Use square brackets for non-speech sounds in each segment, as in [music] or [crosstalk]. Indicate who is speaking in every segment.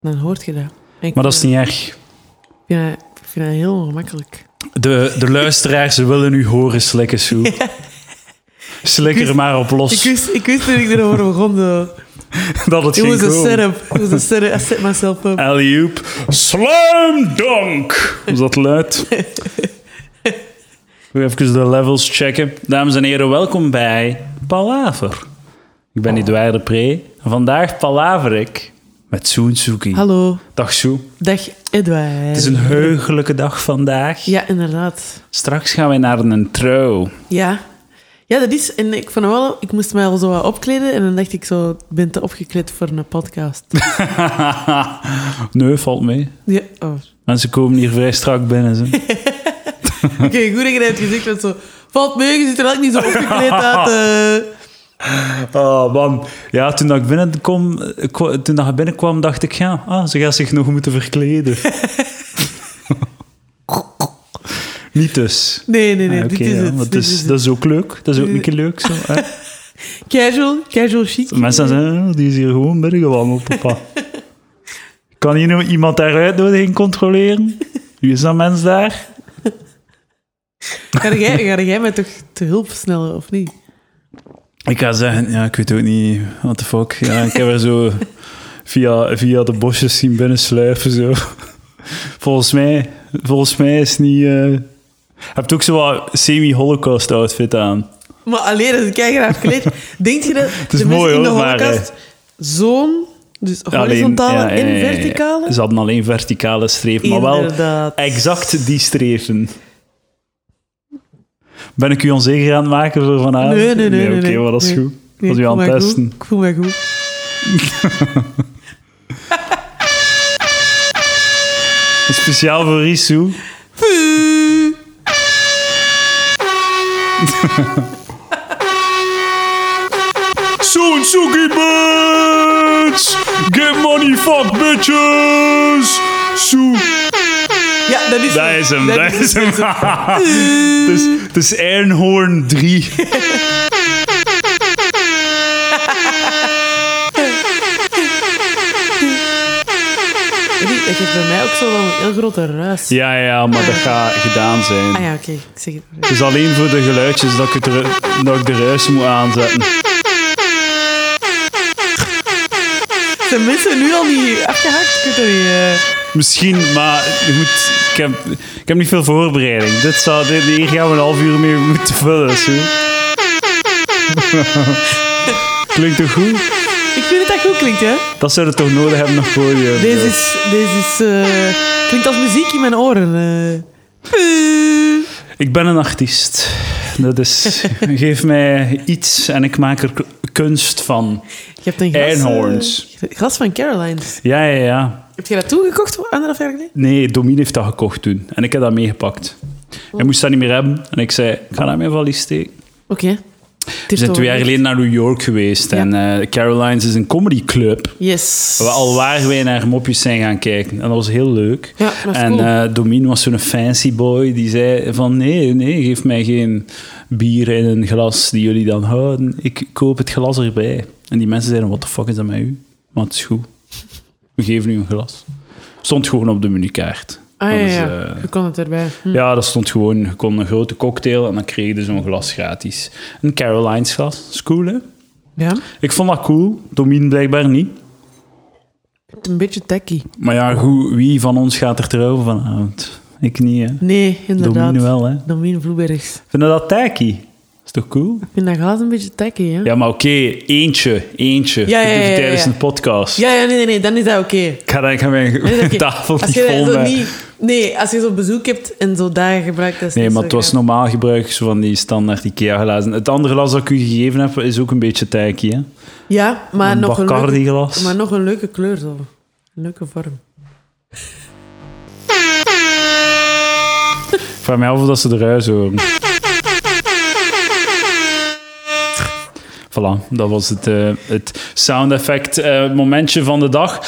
Speaker 1: dan hoort je dat. Ik,
Speaker 2: Maar dat is
Speaker 1: eh,
Speaker 2: niet erg.
Speaker 1: vind dat- Ik vind dat heel ongemakkelijk.
Speaker 2: De, de luisteraars willen u horen slikken,
Speaker 1: [laughs]
Speaker 2: Sue. Slik er maar op
Speaker 1: Ik
Speaker 2: los.
Speaker 1: wist, ik wist toen ik erover begon,
Speaker 2: [laughs]
Speaker 1: zo.
Speaker 2: Dat het
Speaker 1: It
Speaker 2: ging
Speaker 1: was a
Speaker 2: komen.
Speaker 1: setup. It
Speaker 2: [laughs]
Speaker 1: was a setup. I set myself up.
Speaker 2: Alley-oop. Slam dunk! Was dat luid? Weer even de levels checken. Dames en heren, welkom bij Palaver. Ik ben Edouard de Pre. En vandaag palaver ik met Soen Soekie.
Speaker 1: Hallo.
Speaker 2: Dag Soe.
Speaker 1: Dag, Edouard.
Speaker 2: Het is een heugelijke dag vandaag.
Speaker 1: Ja, inderdaad.
Speaker 2: Straks gaan wij naar een trouw.
Speaker 1: Ja. Ja, dat is... En ik vond het wel... Ik moest mij al zo wat opkleden en dan dacht ik zo... Ik ben te opgekleed voor een
Speaker 2: [laughs]
Speaker 1: podcast.
Speaker 2: nee, valt mee.
Speaker 1: ja. Oh.
Speaker 2: Mensen komen hier vrij strak
Speaker 1: [laughs]
Speaker 2: binnen. Ze.
Speaker 1: Oké, goed dat je dat hebt gezegd. want zo... Valt mee, je ziet er ook niet
Speaker 2: [laughs]
Speaker 1: zo opgekleed uit. eh. Ah,
Speaker 2: Oh man. Ja, toen dat ik binnenkwam, eh, kwa- toen dat ik binnenkwam dacht ik, ja, ah, ze gaat zich nog moeten verkleden. [laughs] Niet dus.
Speaker 1: Nee, nee, nee.
Speaker 2: Ah,
Speaker 1: dit
Speaker 2: oké,
Speaker 1: is
Speaker 2: ja,
Speaker 1: het.
Speaker 2: want
Speaker 1: Dit
Speaker 2: dat, is,
Speaker 1: is het.
Speaker 2: dat is ook leuk. Dat is ook een keer leuk. Zo,
Speaker 1: [laughs]
Speaker 2: hè.
Speaker 1: Casual, casual chic.
Speaker 2: Mensen zeggen, eh, die is hier gewoon binnengewandeld,
Speaker 1: [laughs]
Speaker 2: papa. Kan hier nou iemand daar uitnodiging controleren? Wie is dat mens daar?
Speaker 1: Ga jij, ga jij mij toch te hulp snellen, of niet?
Speaker 2: Ik ga zeggen, ja, ik weet ook niet, what the fuck. Ja, ik heb er zo via, via de bosjes zien binnensluipen, zo. Volgens mij, volgens mij is niet... eh Je hebt ook zo wat semi-holocaust-outfit aan.
Speaker 1: Maar alleen dat is keihard kleed. Denk je
Speaker 2: [laughs]
Speaker 1: dat het
Speaker 2: is
Speaker 1: de
Speaker 2: mooi,
Speaker 1: mensen in de
Speaker 2: hoor, maar,
Speaker 1: holocaust zo'n, dus
Speaker 2: Alleen-
Speaker 1: horizontale
Speaker 2: ja, ja, ja,
Speaker 1: en
Speaker 2: ja.
Speaker 1: verticale?
Speaker 2: Ze hadden alleen verticale strepen, maar wel
Speaker 1: Inderdaad.
Speaker 2: exact die strepen. Ben ik u onzeker aan het maken voor vanavond?
Speaker 1: Nee, nee, nee. nee,
Speaker 2: Oké,
Speaker 1: nee,
Speaker 2: maar dat is
Speaker 1: nee.
Speaker 2: goed.
Speaker 1: Nee,
Speaker 2: was
Speaker 1: ik
Speaker 2: u aan
Speaker 1: voel
Speaker 2: het
Speaker 1: mij goed.
Speaker 2: testen.
Speaker 1: Ik voel mij goed.
Speaker 2: Speciaal voor Risu.
Speaker 1: Puh.
Speaker 2: Soon Suki Birds! Get money, fuck bitches! Soon.
Speaker 1: Ja, dat is
Speaker 2: Dat is hem, dat is hem. [laughs] Dus- Het is, het is Ernhoorn 3.
Speaker 1: Weet je, Dat geeft bij mij ook zo wel een heel grote ruis.
Speaker 2: Ja, ja, maar dat gaat gedaan zijn.
Speaker 1: Ah ja, oké. Ik zeg het.
Speaker 2: Het is alleen voor de geluidjes dat ik, het ru- dat ik de ruis moet aanzetten.
Speaker 1: Zijn mensen nu al niet afgehakt? Ik weet het niet, eh.
Speaker 2: Misschien, maar goed, ik heb, ik heb niet veel voorbereiding. Dit zou, dit, hier gaan we een half uur mee moeten vullen.
Speaker 1: [laughs]
Speaker 2: Zo. Klinkt toch goed?
Speaker 1: Ik vind dat dat goed klinkt, hè?
Speaker 2: Dat zouden we toch nodig hebben nog podium.
Speaker 1: Deze is... Deze is eh, klinkt als muziek in mijn oren. eh. Puh.
Speaker 2: Ik ben een artiest. Dat is, geef mij iets en ik maak er k- kunst van.
Speaker 1: Je hebt een glas...
Speaker 2: Einhorns.
Speaker 1: eh, glas van Caroline's.
Speaker 2: Ja, ja, ja.
Speaker 1: Heb je dat toegekocht anderhalf jaar geleden?
Speaker 2: Nee, Domien heeft dat gekocht toen. En ik heb dat meegepakt. Hij moest dat niet meer hebben. En ik zei, ik ga dat in mijn valies steken.
Speaker 1: Oké.
Speaker 2: We zijn twee jaar geleden naar New York geweest. En eh, Caroline's is een comedyclub.
Speaker 1: Yes.
Speaker 2: waar- Al waar wij naar mopjes zijn gaan kijken. En dat was heel leuk.
Speaker 1: Ja, dat is
Speaker 2: en
Speaker 1: cool.
Speaker 2: eh, Domien was zo'n fancy boy. Die zei van nee, nee, geef mij geen bier in een glas die jullie dan houden. Ik koop het glas erbij. En die mensen zeiden, what the fuck is dat met u? Maar het is goed. We geven u een glas. Stond gewoon op de menukaart.
Speaker 1: Ah, ja,
Speaker 2: Dat is,
Speaker 1: ja.
Speaker 2: eh,
Speaker 1: Je kon het erbij. Hm.
Speaker 2: ja, dat stond gewoon, je kon een grote cocktail en dan kreeg je zo'n glas gratis. Een Caroline's glas, dat is cool hè?
Speaker 1: Ja.
Speaker 2: Ik vond dat cool, Domien blijkbaar niet.
Speaker 1: Een beetje tacky.
Speaker 2: Maar ja, goed, wie van ons gaat er trouwen vanavond? Ik niet, hè?
Speaker 1: Nee, inderdaad.
Speaker 2: Domien wel, hè?
Speaker 1: Domien Vloebergs.
Speaker 2: Vinden dat tacky? Is toch cool?
Speaker 1: Ik vind dat glas een beetje tacky, hè?
Speaker 2: Ja, maar oké, eentje, eentje.
Speaker 1: Ja, ja, ja, ja, ja.
Speaker 2: Tijdens een podcast.
Speaker 1: Ja, ja, nee, nee, nee, dan is dat oké.
Speaker 2: Ik ga, ik ga mijn [laughs]
Speaker 1: Dan is dat oké.
Speaker 2: tafel
Speaker 1: Als
Speaker 2: niet
Speaker 1: je dat
Speaker 2: vol
Speaker 1: zo
Speaker 2: met-
Speaker 1: niet... Nee, als je zo bezoek hebt en zo dagen gebruikt, dat is
Speaker 2: Nee,
Speaker 1: niet
Speaker 2: maar
Speaker 1: zo
Speaker 2: het was
Speaker 1: graag.
Speaker 2: normaal gebruik zo van die standaard IKEA-glazen. Het andere glas dat ik u gegeven heb, is ook een beetje tacky, hè?
Speaker 1: Ja, maar
Speaker 2: een
Speaker 1: Ah, nog een, leuke,
Speaker 2: Bacardi-glas.
Speaker 1: maar nog een leuke kleur zo. Een leuke vorm.
Speaker 2: Ik vraag mij af of dat ze eruit horen. Voilà, dat was het, eh, het sound effect eh, momentje van de dag.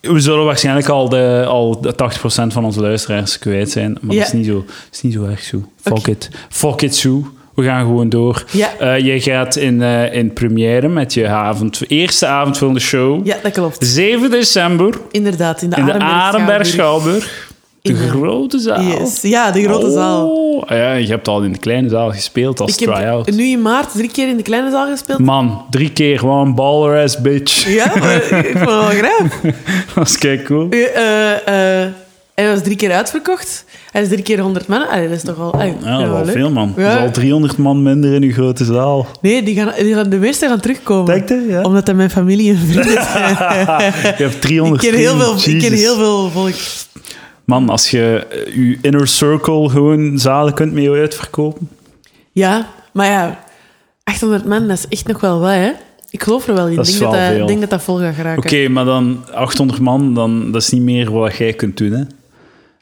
Speaker 2: We zullen waarschijnlijk al, de, al de 80% van onze luisteraars kwijt zijn. Maar
Speaker 1: Ja.
Speaker 2: dat is niet zo, dat is niet zo erg zo. Fuck it. Fuck it, Sue. We gaan gewoon door.
Speaker 1: Ja.
Speaker 2: Eh, jij gaat in, eh, in première met je avond, eerste avond van de show.
Speaker 1: Ja, dat klopt.
Speaker 2: 7 december
Speaker 1: Inderdaad, in de,
Speaker 2: Dus in de Arenberg
Speaker 1: Arenberg-Schouwburg.
Speaker 2: Schouwburg. De
Speaker 1: In de-
Speaker 2: grote zaal.
Speaker 1: Yes. Ja, de grote zaal.
Speaker 2: Oh, ja, je hebt al in de kleine zaal gespeeld als
Speaker 1: Ik heb
Speaker 2: try-out.
Speaker 1: nu in maart drie keer in de kleine zaal gespeeld.
Speaker 2: Man, drie keer gewoon baller-ass bitch.
Speaker 1: Ja, maar ik vond het wel graag.
Speaker 2: [laughs] Dat is kijk cool.
Speaker 1: Eh, eh, eh, hij was drie keer uitverkocht. Hij is drie keer 100 man. Allee, dat is toch al... allee, ik vind dat
Speaker 2: Ja, dat is wel
Speaker 1: leuk.
Speaker 2: veel, man.
Speaker 1: Ja.
Speaker 2: Er is al 300 man minder in uw grote zaal.
Speaker 1: Nee, die gaan, die gaan, de meeste gaan terugkomen.
Speaker 2: Denk je? Ja.
Speaker 1: Omdat dat mijn familie en
Speaker 2: [laughs]
Speaker 1: vrienden zijn.
Speaker 2: Je hebt
Speaker 1: ik,
Speaker 2: 300
Speaker 1: ken heel veel, ik ken
Speaker 2: Jezus.
Speaker 1: heel veel volk.
Speaker 2: Man, als je eh, je inner circle gewoon zalen kunt mee uitverkopen.
Speaker 1: Ja, maar ja, 800 man, dat is echt nog wel wat, hè? Ik geloof er wel in. Ik
Speaker 2: Dat is
Speaker 1: denk, dat
Speaker 2: wel
Speaker 1: dat-
Speaker 2: veel.
Speaker 1: ik denk dat dat vol gaat geraken.
Speaker 2: Oké, maar dan 800 man, dan, dat is niet meer wat jij kunt doen, hè?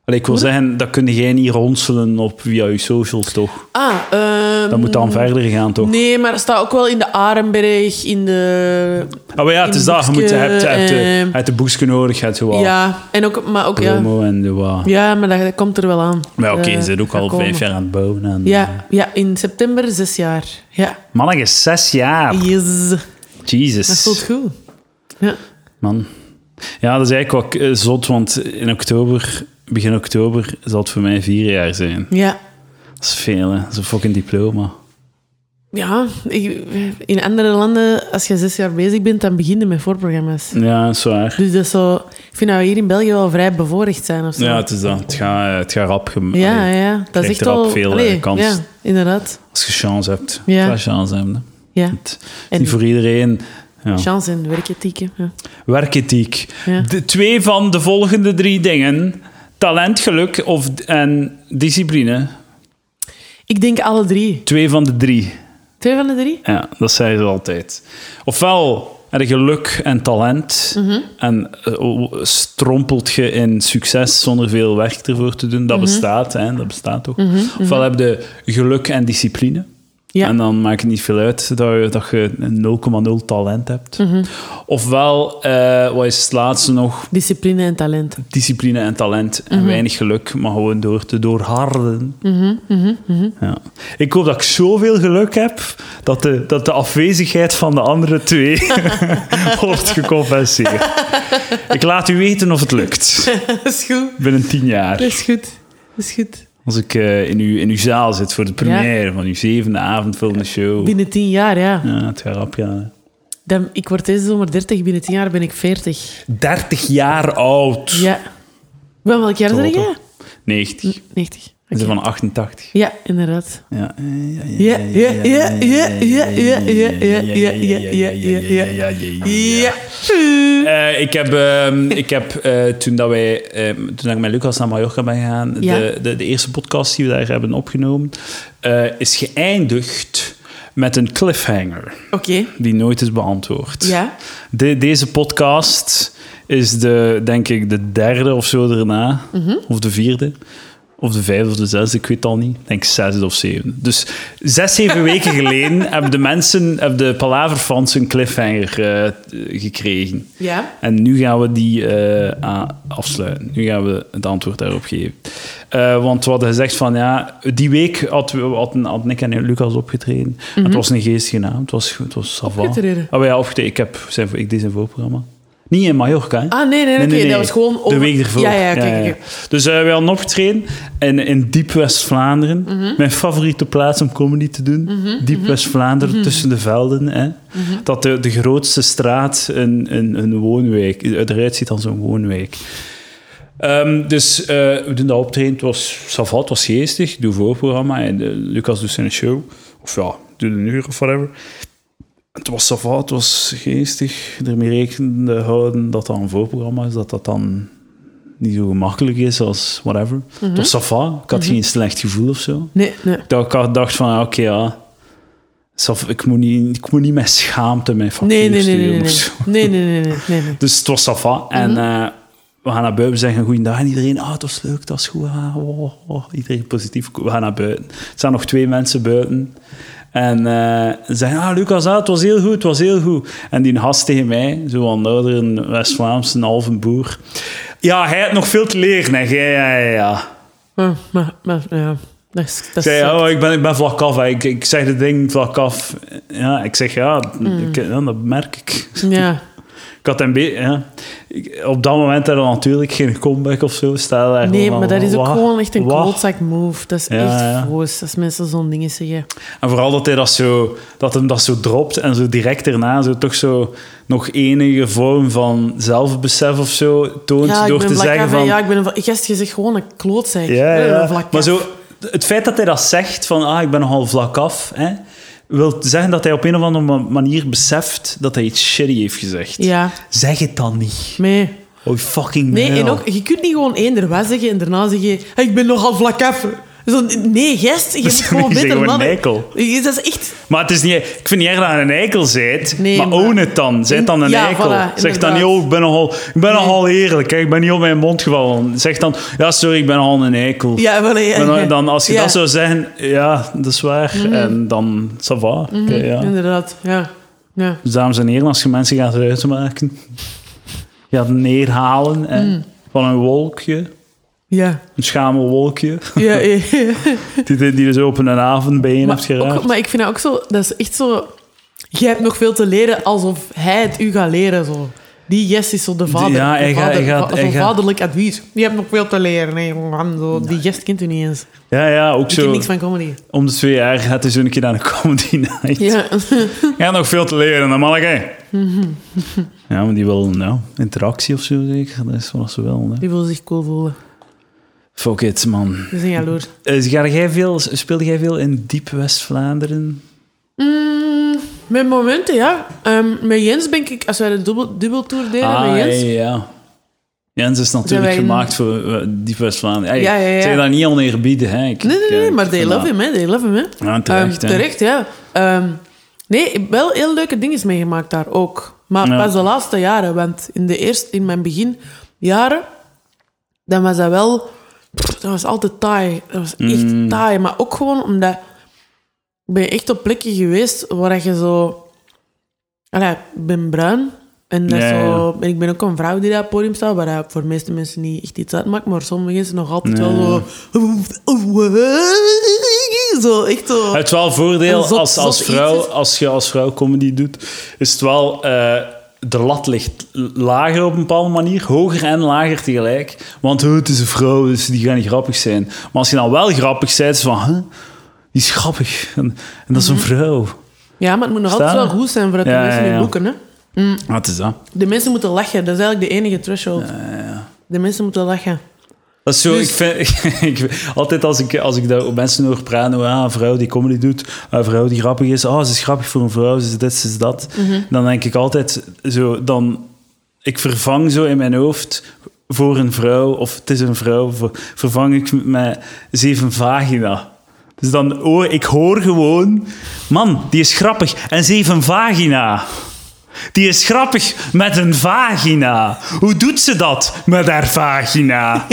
Speaker 2: Allee, ik wil zeggen, dat kun jij niet ronselen op via je socials, toch?
Speaker 1: Ah, ehm,
Speaker 2: Dat moet dan verder gaan, toch?
Speaker 1: Nee, maar het staat ook wel in de Arenberg, in de...
Speaker 2: Ah, maar ja, het is
Speaker 1: in
Speaker 2: dat. Je, moet, je,
Speaker 1: boekje,
Speaker 2: hebt, je, hebt, de-
Speaker 1: eh,
Speaker 2: je hebt de boekje nodig, je hebt zo wat
Speaker 1: Ja, en ook, maar ook, ja.
Speaker 2: promo en de wat...
Speaker 1: Ja, maar dat, dat komt er wel aan.
Speaker 2: Maar oké,
Speaker 1: Eh,
Speaker 2: je zit ook
Speaker 1: gaat
Speaker 2: al
Speaker 1: komen.
Speaker 2: vijf jaar aan het bouwen. En, eh,
Speaker 1: Ja, ja, in september zes jaar. Ja.
Speaker 2: Mannetje, zes jaar.
Speaker 1: Yes. Dat voelt
Speaker 2: Jesus.
Speaker 1: goed. Ja.
Speaker 2: Man. Ja, dat is eigenlijk wel k- eh, zot, want in oktober, begin oktober, zal het voor mij vier jaar zijn.
Speaker 1: Ja.
Speaker 2: Dat is veel, hè. Dat is een fucking diploma.
Speaker 1: Ja, ik- in andere landen, als je zes jaar bezig bent, dan begin je met voorprogramma's.
Speaker 2: Ja, dat is waar.
Speaker 1: Dus dat is zo... Ik vind dat we hier in België wel vrij bevoorrecht zijn of zo.
Speaker 2: Ja, het is dat. Het gaat eh, het gaat rap. gem-
Speaker 1: ja,
Speaker 2: Allee,
Speaker 1: ja. Dat is
Speaker 2: krijgt
Speaker 1: echt
Speaker 2: erop
Speaker 1: wel...
Speaker 2: veel, eh,
Speaker 1: Allee,
Speaker 2: kans.
Speaker 1: Ja, inderdaad.
Speaker 2: Als je chance hebt.
Speaker 1: Ja.
Speaker 2: Ja. chance hebben. hè.
Speaker 1: Ja.
Speaker 2: Het is
Speaker 1: En-
Speaker 2: niet voor iedereen. Ja.
Speaker 1: Chance en werkethiek, hè. ja.
Speaker 2: Werkethiek.
Speaker 1: Ja.
Speaker 2: De, twee van de volgende drie dingen. Talent, geluk of, en discipline.
Speaker 1: Ik denk alle drie.
Speaker 2: Twee van de drie.
Speaker 1: Twee van de drie?
Speaker 2: Ja, dat zeiden ze altijd. Ofwel heb je geluk en talent
Speaker 1: Mhm.
Speaker 2: en eh, o- strompelt je in succes zonder veel werk ervoor te doen. Dat
Speaker 1: Mhm.
Speaker 2: bestaat, hè, dat bestaat ook. Ofwel heb je geluk en discipline.
Speaker 1: Ja.
Speaker 2: En dan maakt het niet veel uit dat je, dat je een 0,0 talent hebt.
Speaker 1: Mhm.
Speaker 2: Ofwel, eh, wat is het laatste nog?
Speaker 1: Discipline en talent.
Speaker 2: Discipline en talent en
Speaker 1: Mhm.
Speaker 2: weinig geluk, maar gewoon door te doorharden.
Speaker 1: mhm,
Speaker 2: Ja. Ik hoop dat ik zoveel geluk heb dat de, dat de afwezigheid van de andere twee [laughs] wordt gecompenseerd. Ik laat u weten of het lukt
Speaker 1: dat is goed.
Speaker 2: binnen tien
Speaker 1: Dat
Speaker 2: jaar.
Speaker 1: is goed. Dat is goed.
Speaker 2: Als ik eh, in, uw, in uw zaal zit voor de première van uw zevende avond van de show.
Speaker 1: Binnen tien jaar, ja.
Speaker 2: Ja, het gaat rap gaan.
Speaker 1: Dan, ik word deze zomer 30, binnen 10 jaar ben ik 40.
Speaker 2: 30 jaar oud.
Speaker 1: Ja. Van welk jaar ben
Speaker 2: Total.
Speaker 1: jij?
Speaker 2: 90. Ze
Speaker 1: 90.
Speaker 2: is
Speaker 1: Oké.
Speaker 2: van 88.
Speaker 1: Ja, inderdaad.
Speaker 2: Ja,
Speaker 1: Ja, ja, ja, ja, ja, ja, ja, ja, ja, ja, ja, ja, ja. Ja. Eh,
Speaker 2: Eh, ik heb, ehm, [laughs] ik heb eh, toen, dat wij, ehm, toen dat ik met Lucas naar Mallorca ben gegaan,
Speaker 1: Ja.
Speaker 2: de, de, de eerste podcast die we daar hebben opgenomen, eh, is geëindigd met een cliffhanger
Speaker 1: Oké.
Speaker 2: die nooit is beantwoord.
Speaker 1: Ja.
Speaker 2: De- deze podcast is de, denk ik de derde of zo daarna,
Speaker 1: Mhm.
Speaker 2: of de vierde. Of de vijfde of de zesde, ik weet het al niet. Ik denk zesde of zevende. Dus zes, zeven
Speaker 1: [laughs]
Speaker 2: weken geleden hebben de mensen, hebben de Palaverfans een cliffhanger eh, gekregen.
Speaker 1: Ja.
Speaker 2: En nu gaan we die eh, a- afsluiten. Nu gaan we het antwoord daarop geven. Eh, want we hadden gezegd van ja, die week had, we, hadden, hadden ik en Lucas opgetreden. Het was een geestige naam, het was, het was savant.
Speaker 1: Mhm. Opgetreden?
Speaker 2: Oh ja, opgetreden. Ik, heb, zijn, ik deed zijn voorprogramma. Niet in Mallorca, hè?
Speaker 1: Ah, nee, nee, oké. Dat was gewoon...
Speaker 2: De
Speaker 1: over-
Speaker 2: week ervoor.
Speaker 1: Ja, ja, oké. oké, oké.
Speaker 2: Dus eh we hadden opgetreden in, in diep West-Vlaanderen.
Speaker 1: Mhm.
Speaker 2: Mijn favoriete plaats om comedy te doen. Diep West-Vlaanderen,
Speaker 1: Mhm.
Speaker 2: tussen de velden. Hè. Dat de, de grootste straat een, een, een woonwijk eruit ziet als een woonwijk. Ehm, dus eh, we doen dat optreden. Het was savat, het was geestig. Ik doe voorprogramma en eh, Lucas doet zijn show. Of ja, doe een uur of whatever. Het was savat, het was geestig. Ermee rekening houden dat dat een voorprogramma is, dat dat dan niet zo gemakkelijk is als whatever.
Speaker 1: Mhm.
Speaker 2: Het was savat, ik had geen slecht gevoel of zo.
Speaker 1: Nee, nee.
Speaker 2: Dat ik had- dacht van, ja, oké, ja. Saf- Ik moet, niet, ik moet niet met schaamte mijn factuur
Speaker 1: Nee, nee, nee,
Speaker 2: sturen
Speaker 1: nee, nee.
Speaker 2: of zo.
Speaker 1: Nee, nee, nee, nee, nee, nee.
Speaker 2: Dus het was safa. En
Speaker 1: Mhm.
Speaker 2: eh, we gaan naar buiten, we zeggen goeiedag aan iedereen. Ah, het was leuk, het was goed. ah, oh, oh. Iedereen positief. We gaan naar buiten. Er staan nog twee mensen buiten. En eh, ze zeggen, ah, Lucas, ah, het was heel goed, het was heel goed. En die gast tegen mij, zo'n oudere West-Vlaamse, een halve boer. Ja, hij had nog veel te leren. Hè. Ja, ja, ja, ja.
Speaker 1: Maar, maar, maar, ja. Dat is, dat is
Speaker 2: zei,
Speaker 1: zo.
Speaker 2: oh, ik ben, ik ben vlak af. hè. Ik, ik zeg de ding vlak af. Ja, ik zeg ja,
Speaker 1: Mhm.
Speaker 2: ik- ja, dat merk ik.
Speaker 1: Ja,
Speaker 2: Ik had een beetje... Ja. Ik- op dat moment had er natuurlijk geen comeback of zo. Stel daar
Speaker 1: nee,
Speaker 2: gewoon
Speaker 1: maar
Speaker 2: van,
Speaker 1: dat is ook
Speaker 2: "Wa-
Speaker 1: gewoon echt een
Speaker 2: wa-
Speaker 1: klootzak move. Dat is
Speaker 2: Ja, ja.
Speaker 1: echt vroos als mensen zo'n dingen zeggen.
Speaker 2: En vooral dat hij dat zo, dat hem dat zo dropt en zo direct daarna zo toch zo nog enige vorm van zelfbesef of zo toont
Speaker 1: Ja, ik
Speaker 2: door
Speaker 1: ben
Speaker 2: te
Speaker 1: vlak
Speaker 2: zeggen
Speaker 1: af en
Speaker 2: van...
Speaker 1: ja, ik ben een vla- gast, je zegt gewoon een klootzak.
Speaker 2: ja,
Speaker 1: Ik ben
Speaker 2: ja.
Speaker 1: een vlak
Speaker 2: maar
Speaker 1: af.
Speaker 2: zo, het feit dat hij dat zegt van ah, ik ben nogal vlak af, hè, wil zeggen dat hij op een of andere ma- manier beseft dat hij iets shitty heeft gezegd.
Speaker 1: Ja,
Speaker 2: Zeg het dan niet.
Speaker 1: nee.
Speaker 2: Oh, fucking
Speaker 1: Nee,
Speaker 2: hell.
Speaker 1: en ook, je kunt niet gewoon eender wat zeggen en daarna zeggen... "Hey, ik ben nogal vlak af. Zo, nee, gast,
Speaker 2: [laughs]
Speaker 1: je moet
Speaker 2: is
Speaker 1: gewoon
Speaker 2: gewoon
Speaker 1: beter
Speaker 2: een
Speaker 1: dan-
Speaker 2: eikel.
Speaker 1: Dat is echt...
Speaker 2: Maar het is niet, ik vind niet erg dat je een eikel bent,
Speaker 1: Nee,
Speaker 2: maar,
Speaker 1: maar-
Speaker 2: own het dan. Zet dan een
Speaker 1: Ja,
Speaker 2: eikel.
Speaker 1: voilà,
Speaker 2: zeg
Speaker 1: inderdaad.
Speaker 2: dan niet, oh, ik ben nogal, ik ben nogal eerlijk, hè, ik ben niet op mijn mond gevallen. Zeg dan, ja, sorry, ik ben al een eikel.
Speaker 1: Ja, wel, ja,
Speaker 2: Maar
Speaker 1: ja.
Speaker 2: dan, dan, als je
Speaker 1: Ja, Mhm.
Speaker 2: dat zou zeggen, ja, dat is waar. En dan, ça va. Oké, ja.
Speaker 1: Inderdaad, ja. ja.
Speaker 2: Dus dames en heren, als je mensen gaat uitmaken, gaat neerhalen en
Speaker 1: Mhm.
Speaker 2: van een wolkje,
Speaker 1: Ja,
Speaker 2: een schamel wolkje,
Speaker 1: ja, ja, ja.
Speaker 2: [laughs] die, die dus op een avond bij je hebt
Speaker 1: Maar,
Speaker 2: geraakt.
Speaker 1: ook- maar ik vind dat ook zo... Dat is echt zo... Jij hebt nog veel te leren, alsof hij het u gaat leren. Zo. Die yes is zo de vader.
Speaker 2: ja,
Speaker 1: de
Speaker 2: hij gaat-
Speaker 1: vader-
Speaker 2: hij gaat-
Speaker 1: va-
Speaker 2: hij
Speaker 1: zo'n
Speaker 2: gaat-
Speaker 1: vaderlijk advies. Je hebt nog veel te leren. Nee, man, zo, die yes kent u niet eens.
Speaker 2: Ja, ja, ook
Speaker 1: Die kent
Speaker 2: zo.
Speaker 1: niks van comedy.
Speaker 2: Om de twee jaar gaat hij zo een keer naar een comedy [laughs] night.
Speaker 1: Ja,
Speaker 2: Ja, nog veel te leren, dan mag ik. [laughs] Ja, maar die wil nou, interactie of zo zeker. Dat is wat ze wel. Hè.
Speaker 1: [laughs] die wil zich cool voelen.
Speaker 2: Fuck it, man.
Speaker 1: We zijn jaloers.
Speaker 2: Eh, ga jij veel, speelde jij veel in diep West-Vlaanderen?
Speaker 1: Mm, mijn momenten, ja. Ehm, met Jens ben ik, als wij de dubbel, dubbeltour deden
Speaker 2: ah,
Speaker 1: met
Speaker 2: ja,
Speaker 1: Jens...
Speaker 2: ja, ja. Jens is natuurlijk
Speaker 1: wij in-
Speaker 2: gemaakt voor eh, diep West-Vlaanderen. Hey,
Speaker 1: Ja, ja, ja.
Speaker 2: Zeg dat niet oneerbiedig, hè. Ik-
Speaker 1: Nee, nee,
Speaker 2: ik,
Speaker 1: nee,
Speaker 2: eh,
Speaker 1: maar
Speaker 2: ik
Speaker 1: they
Speaker 2: vind
Speaker 1: love
Speaker 2: dat-
Speaker 1: him, hè. They love him, hè.
Speaker 2: Ja, terecht,
Speaker 1: Ehm,
Speaker 2: hè.
Speaker 1: terecht, ja. Ehm, nee, wel heel leuke dingen meegemaakt daar ook. Maar
Speaker 2: Ja.
Speaker 1: pas de laatste jaren, want in, de eerste, in mijn beginjaren, dan was dat wel... pff, dat was altijd taai. Dat was echt
Speaker 2: Mm.
Speaker 1: taai. Maar ook gewoon omdat... Ik ben echt op plekken geweest waar je zo... Allee, ik ben bruin. En dat
Speaker 2: Ja, ja, ja.
Speaker 1: zo, en ik ben ook een vrouw die daar op het podium staat, waar dat voor de meeste mensen niet echt iets uitmaakt, maar sommige mensen nog altijd wel zo... [laughs] Zo, echt zo...
Speaker 2: Het is wel een voordeel
Speaker 1: Een zot-
Speaker 2: als, als,
Speaker 1: zot
Speaker 2: vrouw,
Speaker 1: iets is-
Speaker 2: als je als vrouw comedy doet, is het wel. eh, de lat ligt lager op een bepaalde manier, hoger en lager tegelijk. Want oh, het is een vrouw, dus die gaan niet grappig zijn. Maar als je dan wel grappig bent, is het van, huh? die is grappig. En, en dat is
Speaker 1: Mhm.
Speaker 2: een vrouw.
Speaker 1: Ja, maar het moet nog
Speaker 2: Verstaan?
Speaker 1: altijd wel goed zijn voordat de
Speaker 2: Ja,
Speaker 1: mensen
Speaker 2: ja,
Speaker 1: nu
Speaker 2: ja.
Speaker 1: boeken, hè.
Speaker 2: Wat is dat?
Speaker 1: De mensen moeten lachen, dat is eigenlijk de enige threshold. De mensen moeten lachen.
Speaker 2: Dat is zo,
Speaker 1: Dus-
Speaker 2: ik vind, [laughs] ik- altijd als ik, als ik daar op mensen hoor praten, oh, ah, een vrouw die comedy doet, een vrouw die grappig is, ah, ze is grappig voor een vrouw, ze is dit, ze is dat.
Speaker 1: Mhm.
Speaker 2: Dan denk ik altijd zo, dan, ik vervang zo in mijn hoofd voor een vrouw, of het is een vrouw, ver- vervang ik met zeven vagina. Dus dan, hoor ik hoor gewoon, man, die is grappig, en zeven vagina. Die is grappig met een vagina. Hoe doet ze dat met haar
Speaker 1: [laughs]
Speaker 2: vagina?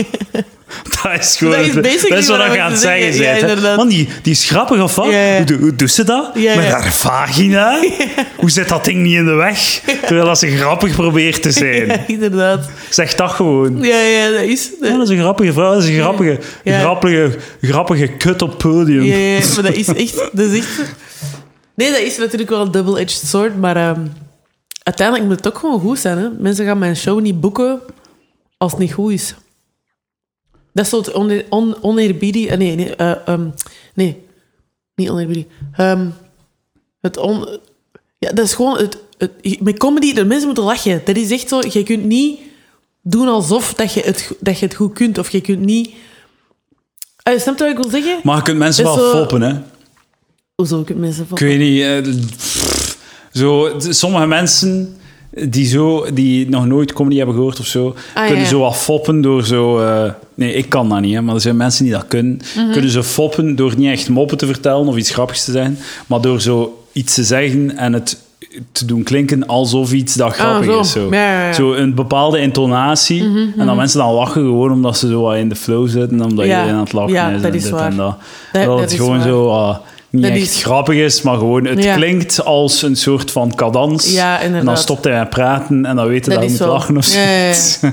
Speaker 2: Dat is gewoon.
Speaker 1: Dat is basically
Speaker 2: wat
Speaker 1: wat
Speaker 2: je
Speaker 1: ik
Speaker 2: aan het
Speaker 1: wil
Speaker 2: zeggen
Speaker 1: zeggen. Ja,
Speaker 2: bent, hè.
Speaker 1: inderdaad.
Speaker 2: Man, die, die is grappig of wat?
Speaker 1: Ja, ja.
Speaker 2: Hoe, doe- hoe doet ze dat?
Speaker 1: Ja,
Speaker 2: Met
Speaker 1: ja.
Speaker 2: haar vagina?
Speaker 1: [laughs]
Speaker 2: Hoe zit dat ding niet in de weg? Terwijl dat ze grappig probeert te zijn.
Speaker 1: Ja, [laughs] inderdaad.
Speaker 2: Zeg dat gewoon.
Speaker 1: Ja, ja, dat is...
Speaker 2: Ja, dat is een grappige vrouw, dat is een grappige,
Speaker 1: Ja.
Speaker 2: grappige, grappige kut op podium.
Speaker 1: Ja, ja, maar dat is echt... Dat is echt nee, dat is natuurlijk wel een double-edged sword, maar ehm, uiteindelijk moet het ook gewoon goed zijn. Hè? Mensen gaan mijn show niet boeken als het niet goed is. Dat is soort oneer, on, oneerbiedige- eh, Nee, nee, eh, ehm, nee, niet oneerbiedig. Ehm, het on... Ja, dat is gewoon... Het, het, met comedy, de mensen moeten lachen. Dat is echt zo... Je kunt niet doen alsof dat je het, go- dat je het goed kunt. Of je kunt niet... Eh, snap je wat ik wil zeggen?
Speaker 2: Maar je kunt mensen
Speaker 1: Dat is
Speaker 2: wel
Speaker 1: zo-
Speaker 2: foppen, hè?
Speaker 1: Hoezo ik het mensen van?
Speaker 2: Ik weet niet. eh, pff, zo, t- sommige mensen die, zo, die nog nooit comedy hebben gehoord of zo,
Speaker 1: Ah, ja,
Speaker 2: kunnen
Speaker 1: ja.
Speaker 2: zo wat foppen door zo. eh, nee, ik kan dat niet, hè, maar er zijn mensen die dat kunnen.
Speaker 1: Mhm.
Speaker 2: Kunnen ze foppen door niet echt moppen te vertellen of iets grappigs te zeggen, maar door zo iets te zeggen en het te doen klinken alsof iets dat grappig
Speaker 1: Ah, zo.
Speaker 2: is. Zo.
Speaker 1: Ja, ja, Mhm, ja.
Speaker 2: zo een bepaalde intonatie. En dan mensen dan lachen gewoon omdat ze zo wat in de flow zitten, omdat
Speaker 1: Ja.
Speaker 2: iedereen aan het lachen
Speaker 1: Ja,
Speaker 2: is.
Speaker 1: dat
Speaker 2: en
Speaker 1: is
Speaker 2: dit
Speaker 1: waar.
Speaker 2: En dat.
Speaker 1: Dat-
Speaker 2: dat
Speaker 1: dat
Speaker 2: het
Speaker 1: is
Speaker 2: gewoon
Speaker 1: waar.
Speaker 2: zo ah, niet
Speaker 1: Dat
Speaker 2: echt
Speaker 1: is-
Speaker 2: grappig is, maar gewoon het
Speaker 1: Ja.
Speaker 2: klinkt als een soort van cadans.
Speaker 1: Ja, inderdaad.
Speaker 2: en dan stopt hij met praten en dan weet hij
Speaker 1: Dat
Speaker 2: dat hij
Speaker 1: is
Speaker 2: moet
Speaker 1: zo.
Speaker 2: lachen of
Speaker 1: Ja, ja, ja.
Speaker 2: zoiets. [laughs] dat